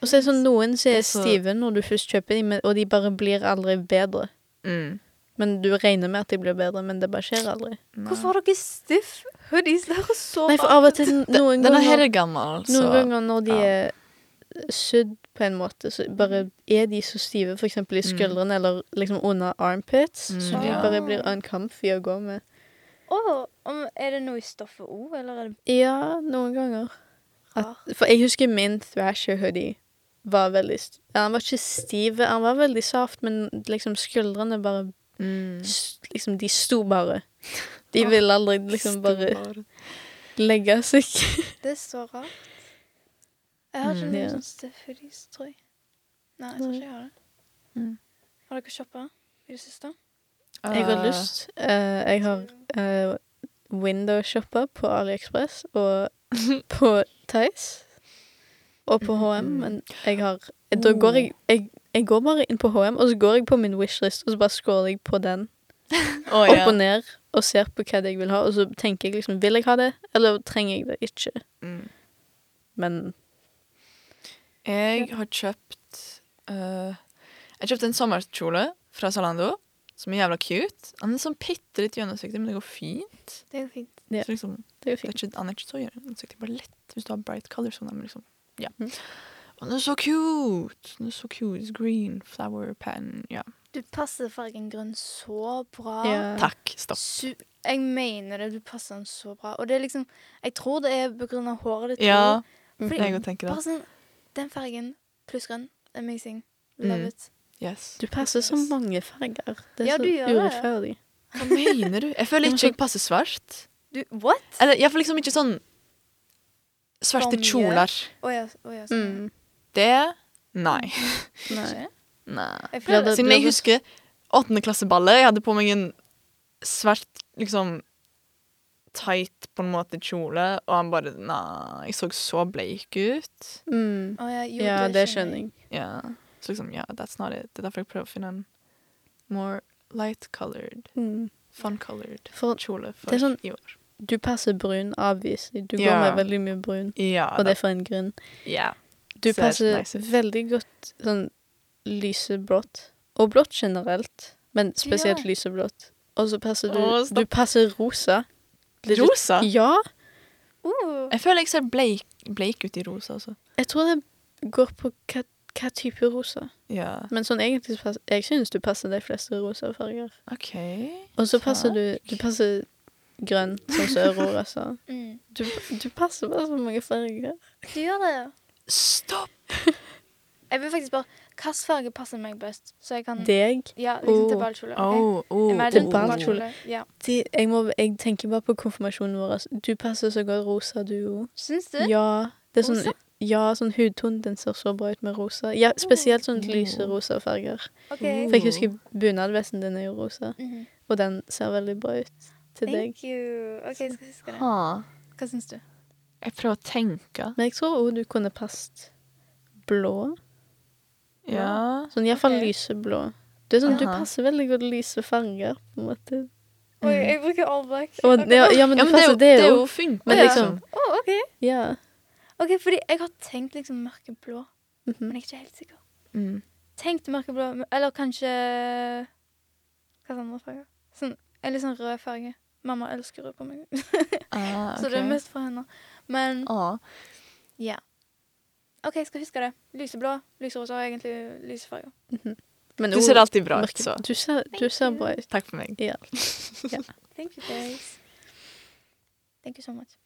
S1: Og så er det sånn noen som er
S2: Så-
S1: stive når du først kjøper dem, men- og de bare blir aldri bedre.
S2: Mm.
S1: Men du regner med at de blir bedre, men det bare skjer aldri.
S3: Hvorfor har dere stiff hoodies? Det er så
S1: Nei, for av og til noen
S2: Den er
S1: ganger,
S2: helt gammel,
S1: noen
S2: så
S1: ganger når de
S2: ja.
S1: er sydd på en måte, så bare er de så stive, for eksempel i
S2: Mm.
S1: skuldrene eller liksom under armpits,
S2: Mm,
S1: så de
S3: ja.
S1: bare blir uncomfy å gå med.
S3: Åh, om- er det noe i stoffet O, eller er det
S1: Ja, noen ganger. At,
S3: rart?
S1: for jeg husker min Thrasher-hoodie var veldig st ja, Han var ikke stiv, han var veldig saft, men liksom skuldrene bare
S2: mm.
S1: s- Liksom, de sto bare. De
S3: Åh.
S1: ville aldri liksom bare
S2: Stor.
S1: legge seg.
S3: Det er så rart. Jeg har ikke
S2: Mm.
S3: noe
S1: Ja.
S3: sånn stiff hoodies, tror jeg. Nei, jeg tror ikke jeg har det.
S2: Mm.
S3: Har dere shoppa i det siste?
S1: Jeg har
S2: Eh,
S1: lyst. Eh, jeg har uh, window-shoppa på AliExpress og på Tice. Og på HM, men jeg har Da går jeg, jeg Jeg går bare inn på HM, og så går jeg på min wishlist, og så bare scroller jeg på den.
S2: Ah. Å, ja.
S1: opp og ned og ser på hva det jeg vil ha, og så tenker jeg liksom Vil jeg ha det, eller trenger jeg det ikke?
S2: Mm.
S1: Men
S2: Jeg har kjøpt eh, Jeg kjøpte en sommerkjole fra Zalando som er jævla cute. Han er sånn bitte litt gjennomsiktig, men det går fint.
S3: Det er jo fint.
S1: Ja.
S2: Så liksom,
S1: det er jo
S2: det er
S1: fint.
S2: ikke, han er ikke så gjennomsiktig, bare lett hvis du har bright colors. Sånn, men liksom, ja.
S1: Mhm.
S2: Og den er så cute! Den er så cute. It's green flower pattern. Ja.
S3: Du passer fargen grønn så bra.
S1: Ja.
S2: Takk. Stopp.
S3: Su jeg mener det. Du passer den så bra. Og det er liksom Jeg tror det er på grunn av håret ditt.
S2: Ja,
S1: mm,
S3: også.
S2: jeg
S3: Fordi,
S2: òg tenker
S3: bare
S2: det.
S3: sånn Den fargen pluss grønn. Amazing. Love
S2: Mm.
S3: it.
S2: Yes.
S1: Du passer så mange farger. Det er
S3: Ja,
S1: så
S3: du gjør det.
S1: urettferdig.
S2: Hva mener du? Jeg føler ikke jeg passer svart.
S3: Du, what? Å
S2: Eller jeg får liksom ikke sånn Svarte
S3: Som mye.
S2: kjoler.
S3: ja, å ja, sånn.
S1: Eh. Mm.
S2: Det Nei.
S1: Nei.
S2: Nei.
S3: Jeg
S1: Blir
S3: føler
S1: det-
S2: Siden jeg husker åttendeklasseballet. Jeg hadde på meg en svart, liksom tight på en måte kjole, og han bare Nei, jeg så så bleik ut.
S1: Mm.
S3: Å ja, jo,
S1: Ja, det skjønner jeg.
S2: Ja. Så liksom, ja, that's not it. Det er derfor jeg prøver å finne en more light-colored,
S1: Mm.
S2: fun-colored
S1: For
S2: kjole for
S1: Det er sånn-
S2: i år.
S1: du passer brun, avviselig. Du går
S2: Ja.
S1: med veldig mye brun,
S2: Ja,
S1: og det er for en grunn.
S2: ja.
S1: Du
S2: Ser
S1: passer
S2: nice ut.
S1: veldig godt sånn lyseblått, og blått generelt, men spesielt
S3: Ja.
S1: lyseblått. Og så passer du
S2: Å,
S1: Du
S2: stopp.
S1: passer rosa. Legit-
S2: Rosa?
S1: Ja.
S3: Uh,
S2: Jeg føler jeg ser bleik, bleik ut i rosa også.
S1: Jeg tror det går på hva, hva type rosa.
S2: Ja.
S1: Men sånn egentlig så passer, Jeg synes du passer de fleste rosa farger.
S2: OK.
S1: Og så passer du Du passer grønn, sånn som Aurora sa.
S3: mm.
S1: Du, du passer bare så mange farger.
S3: Du gjør det.
S2: Stopp!
S3: Jeg vil faktisk bare Hvilken farge passer meg best? Så jeg
S2: Mm.
S3: kan
S1: Deg
S3: Ja, liksom til
S1: Oh.
S3: ballkjole. ok?
S2: Oh, oh,
S3: Imagine
S1: oh.
S3: til
S1: ballkjole.
S3: ballkjole. Ja.
S1: de, jeg, må, jeg tenker bare på konfirmasjonen vår. altså. Du passer så godt rosa, du òg.
S3: Syns du?
S1: Ja. Det er sånn,
S3: Rosa?
S1: ja, sånn hudtonen din ser så bra ut med rosa. Ja, spesielt sånn lyserosa farger.
S3: OK.
S2: Mm.
S1: For jeg husker bunadvesten din er jo rosa,
S3: Mhm.
S1: og den ser veldig bra ut til deg.
S3: Thank you. OK, jeg skal huske det.
S2: Ha.
S3: Hva syns du?
S2: Jeg prøver å tenke.
S1: Men jeg tror også du kunne passet blå.
S2: Ja.
S1: Sånn iallfall
S3: Ok.
S1: lyseblå. Du, er sånn, du
S2: Aha.
S1: passer veldig godt lyse farger, på en måte.
S3: Oi, jeg bruker all black.
S1: Og, ja, ja, men,
S2: Ja,
S1: du
S2: men Mm. det er
S1: passer
S2: jo, det er jo
S1: Men
S2: det,
S1: liksom-
S3: Å, OK.
S1: Ja.
S3: Ok, fordi jeg har tenkt liksom mørkeblå, men
S1: Mhm.
S3: jeg er ikke helt sikker.
S2: Mm.
S3: Tenkt mørkeblå, men- eller kanskje Hva slags andre farger? Sånn, en litt sånn rød farge. Mamma elsker rød på meg,
S2: Ah,
S3: så det er
S2: ok.
S3: mest for henne. Men
S2: Ah.
S3: ja. OK, jeg skal huske det. Lyseblå, lyserosa og egentlig lyse farger.
S1: Mhm. Men
S2: Du
S1: også
S2: ser alltid bra ut,
S1: mørke-
S2: så
S1: Du ser, du
S3: Thank
S1: ser
S3: you.
S1: bra ut.
S2: takk for meg.
S1: Ja.
S3: Thank you guys. Thank you so much.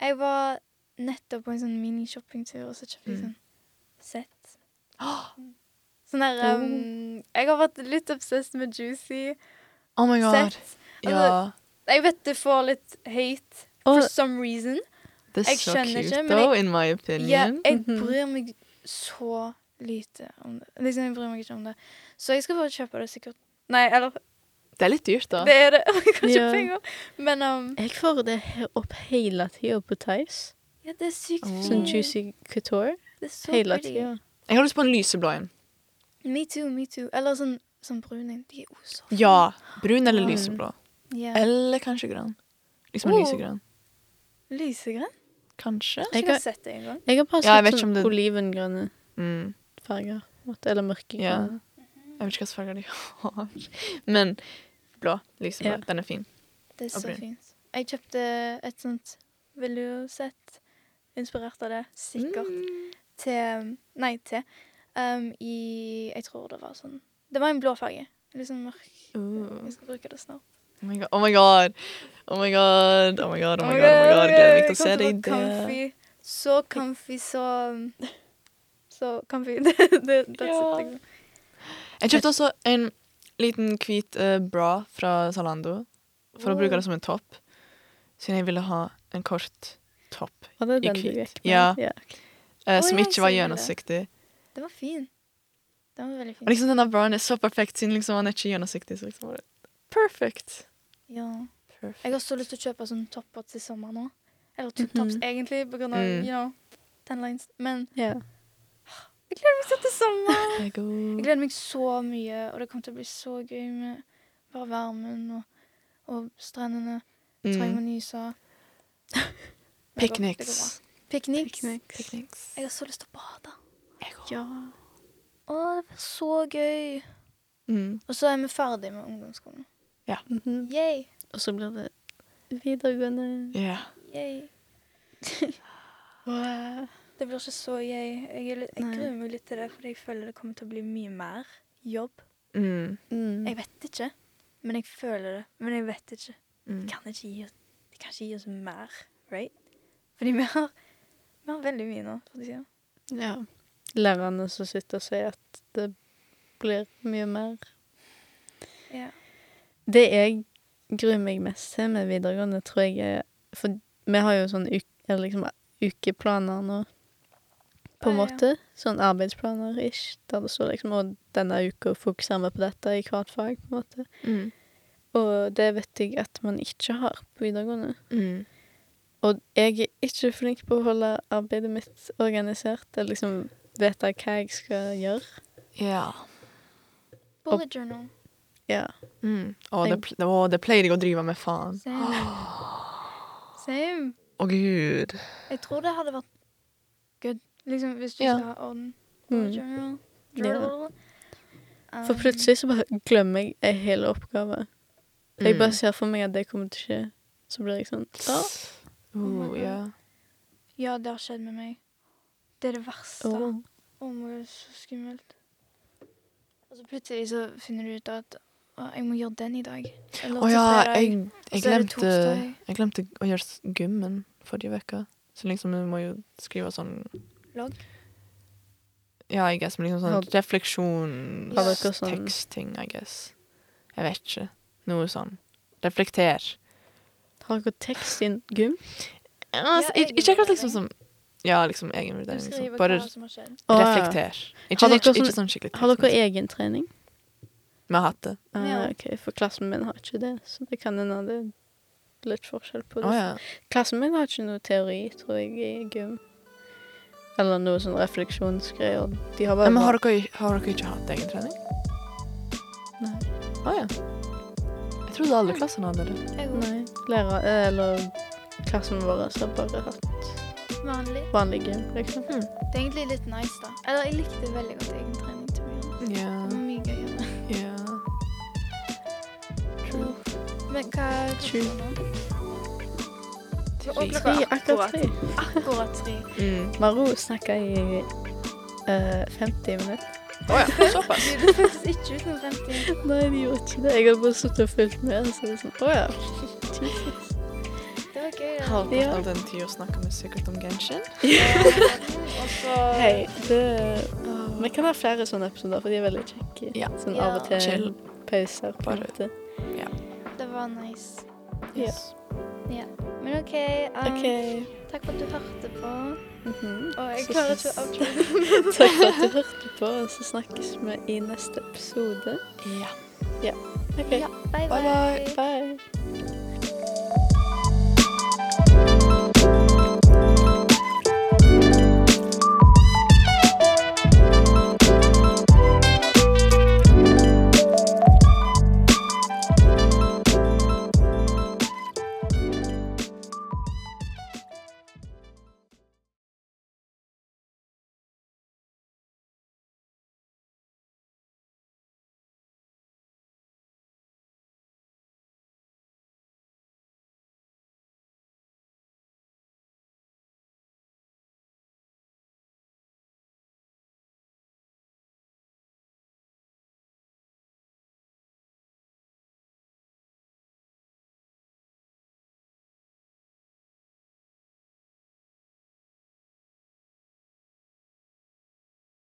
S3: Jeg var nettopp på en sånn mini-shoppingtur, og så kjøpte jeg
S2: Mm.
S3: sånn sett. Sånn der um, Jeg har vært litt obsessed med juicy
S2: Oh my god.
S3: sett.
S2: Ja.
S3: altså, Jeg vet det får litt høyt
S1: Og
S3: for some reason.
S2: Det er
S3: Jeg
S2: så
S3: skjønner
S2: cute,
S3: ikke, men
S2: though, in my opinion.
S3: Ja, jeg
S1: Mhm.
S3: bryr meg så lite om det. Liksom, jeg bryr meg ikke om det. Så jeg skal bare kjøpe det sikkert. Nei, eller
S2: Det er litt dyrt, da.
S3: Det er det. Jeg har ikke
S1: Ja.
S3: penger. Men um,
S1: jeg får det he- opp hele tida på Tice.
S3: ja, det er sykt
S2: Oh.
S1: Sånn
S3: fint.
S1: juicy couture.
S3: Det er Mm. så
S1: hele
S3: pretty.
S1: tida.
S2: Jeg har lyst på en lyseblå en.
S3: Me too, me too. Eller sånn, sånn brun en. De er jo så fine.
S2: Ja. Brun eller
S3: Ah.
S1: Mm.
S2: lyseblå.
S3: Ja.
S2: Eller kanskje grønn. Liksom en
S3: Oh.
S2: lysegrønn.
S3: Lysegrønn?
S2: Kanskje?
S3: Jeg
S1: Jeg
S3: har
S1: har-
S3: ikke sett det engang.
S1: Jeg har bare
S2: Ja, jeg vet
S1: sett
S2: ikke
S1: sånn
S2: om det-
S1: olivengrønne
S2: Mm.
S1: farger. på en måte, Eller mørkegrønne.
S2: Jeg vet ikke hvilken farge de har. Men blå. Lyseblå.
S1: Ja.
S2: Den er fin.
S3: Det er
S2: Og
S3: så
S2: brun.
S3: fint. Jeg kjøpte et sånt velursett, inspirert av det, sikkert,
S2: Mm.
S3: til Nei, til um, I Jeg tror det var sånn Det var en blå farge. Litt sånn mørk.
S2: Ooh.
S3: Jeg skal bruke det snart.
S2: Mm. Uh. Oh my god. Oh my god. Oh my god. Oh my god. Oh my god. Oh my god. Gleder meg til å se deg der.
S3: Comfy. Så comfy, så Så comfy. det, det, that's
S2: Ja.
S3: it, liksom.
S2: Jeg kjøpte også en liten hvit eh, bra fra Zalando for å bruke
S3: Oh.
S2: det som en topp. Siden jeg ville ha en kort topp
S1: Var det
S2: i
S1: den du
S2: hvit.
S1: gikk med?
S2: Ja,
S1: ja.
S2: eh,
S3: Å,
S2: som
S3: ja,
S2: ikke var
S3: jeg ser det.
S2: gjennomsiktig.
S3: Den var fin. Den var veldig fin.
S2: Og liksom denne braen er så perfekt, siden liksom han er ikke gjennomsiktig. Så liksom bare Perfect.
S3: Ja.
S2: Perfect.
S3: Jeg har så lyst til å kjøpe sånne topper til sommer nå. Eller tube-tops,
S1: Mhm.
S3: egentlig, på grunn av
S2: Mm.
S3: you know, ten lines. Men
S1: ja.
S3: jeg gleder meg så til sommer!
S2: Jeg
S3: Jeg
S2: går-
S3: gleder meg så mye, og det kommer til å bli så gøy med bare varmen og, og strendene.
S2: Mm.
S3: Taimanysa. Det går- det går
S2: Picnics.
S3: bra. Picnics.
S1: Picnics.
S2: Picnics.
S3: Jeg har så lyst til å bade.
S2: Jeg går.
S1: Ja.
S3: Å, det blir så gøy!
S2: Mm.
S3: Og så er vi ferdig med ungdomsskolen.
S1: Mhm.
S3: Yay!
S1: Og så blir det videregående.
S2: Ja.
S3: Yay.
S1: Wow.
S3: Det blir ikke så yay. Jeg, er litt- jeg
S1: Nei.
S3: gruer meg litt til det, for jeg føler det kommer til å bli mye mer jobb.
S2: Mm.
S1: Mm.
S3: Jeg vet ikke, men jeg føler det. Men jeg vet ikke.
S2: Mm.
S3: De kan ikke gi oss, de kan ikke gi oss mer, right? Fordi vi har, vi har veldig mye nå. For de sier.
S1: Ja. Lærerne som sitter og sier at det blir mye mer.
S3: Ja.
S1: Det jeg gruer meg mest til med videregående, tror jeg er For vi har jo sånn uk eller liksom ukeplaner nå, på en
S3: Ah, ja.
S1: måte. Sånn arbeidsplaner-ish. Der det står liksom Og denne uka fokuserer vi på dette i hvert fag, på en måte.
S2: Mm.
S1: Og det vet jeg at man ikke har på videregående.
S2: Mm.
S1: Og jeg er ikke flink på å holde arbeidet mitt organisert. Eller liksom vite hva jeg skal gjøre.
S2: Ja.
S3: Bullet journal.
S1: Ja.
S2: Mm. Å, det, pl å, det pleier jeg å drive med, faen.
S3: Same. Same.
S2: Å, gud.
S3: Jeg tror det hadde vært good liksom, hvis du
S2: Ja.
S3: skal ha orden.
S1: Mm.
S3: Bullet journal.
S1: Ja.
S3: Journal.
S1: For
S3: Um,
S1: plutselig så bare glemmer jeg en hel oppgave. Jeg
S2: Mm.
S1: bare ser for meg at det kommer til å skje. Så blir jeg sånn «Å,
S2: Oh,
S3: my God.
S2: ja.
S3: Ja, det har skjedd med meg. Det er det verste.
S1: å,
S3: Å my god, så skummelt. Og så plutselig så finner du ut at å, jeg må gjøre den i dag. Eller
S2: Å ja,
S3: fredag.
S2: jeg, jeg,
S3: så er det
S2: glemte,
S3: torsdag.
S2: jeg glemte å gjøre s- gymmen forrige uke. Så liksom du må jo skrive sånn
S3: Logg?
S2: Ja, I guess, men liksom
S1: Har-
S2: sånn
S1: Har dere sånn-
S2: refleksjonstekstting, I guess. Jeg vet ikke. Noe sånn. Reflekter.
S1: Har dere tekst i en gym?
S2: Ja, altså, ik- ikke akkurat liksom som Ja, liksom
S3: Du
S2: egenvurdering, liksom.
S3: skriver
S2: Bare
S3: hva som har skjedd.
S1: Å, ja.
S2: reflekter. Ikke,
S1: Har dere
S2: ikke,
S1: sånn-
S2: ikke sånn skikkelig
S1: eh, Har dere
S2: tekst.
S1: egentrening?
S2: Vi har hatt det.
S1: Ah,
S3: Ja.
S1: ok, For klassen min har ikke det, så det kan hende det litt forskjell på
S2: Å
S1: det.
S2: ja.
S1: Klassen min hadde ikke noe teori, tror jeg, i gym. Eller noe sånn refleksjonsgreier. De har
S2: Nei,
S1: bare
S2: men har dere, har dere ikke hatt egen trening?
S1: Nei.
S2: Å ja. Jeg trodde alle klassene hadde det.
S1: Nei. Lærer, eller klassen vår har bare hatt
S3: Vanlig.
S1: vanlig gym, liksom.
S3: Det er egentlig litt nice, da. Eller jeg likte veldig godt egen trening. til meg.
S2: Ja.
S3: Det var mye gøyere.
S2: ja. True.
S3: Men hva
S1: Sju.
S3: nå?
S2: True.
S1: Tre, akkurat tre.
S3: Akkurat tre.
S2: Mm.
S1: Maro snakka i eh, 50 minutter.
S2: Å ja, såpass.
S3: Du er faktisk ikke uten 50.
S1: Nei, de gjorde ikke det. Jeg hadde bare sittet og fulgt med. Så det er sånn, å ja.
S3: Det var gøy. da.
S1: Ja.
S2: Halvparten av den tida snakker vi sikkert om Genshin.
S3: Og så
S1: Hei, det Vi kan ha flere sånne episoder, for de er veldig kjekke.
S2: Ja.
S1: Sånn
S3: Ja.
S1: av og til.
S2: Chill.
S1: Pauser. på en
S2: Bare-
S1: måte.
S3: Det var nice.
S1: Ja.
S2: Yes.
S3: Ja. Men OK. Um,
S1: OK.
S3: Takk for at du hørte på.
S1: Mhm.
S3: Og jeg
S1: Så
S3: klarer ikke
S1: ses-
S3: å outro.
S1: Takk for at du hørte på, og så snakkes vi i neste episode.
S2: Ja.
S1: OK.
S3: Ja, bye,
S2: Bye, bye.
S1: Bye.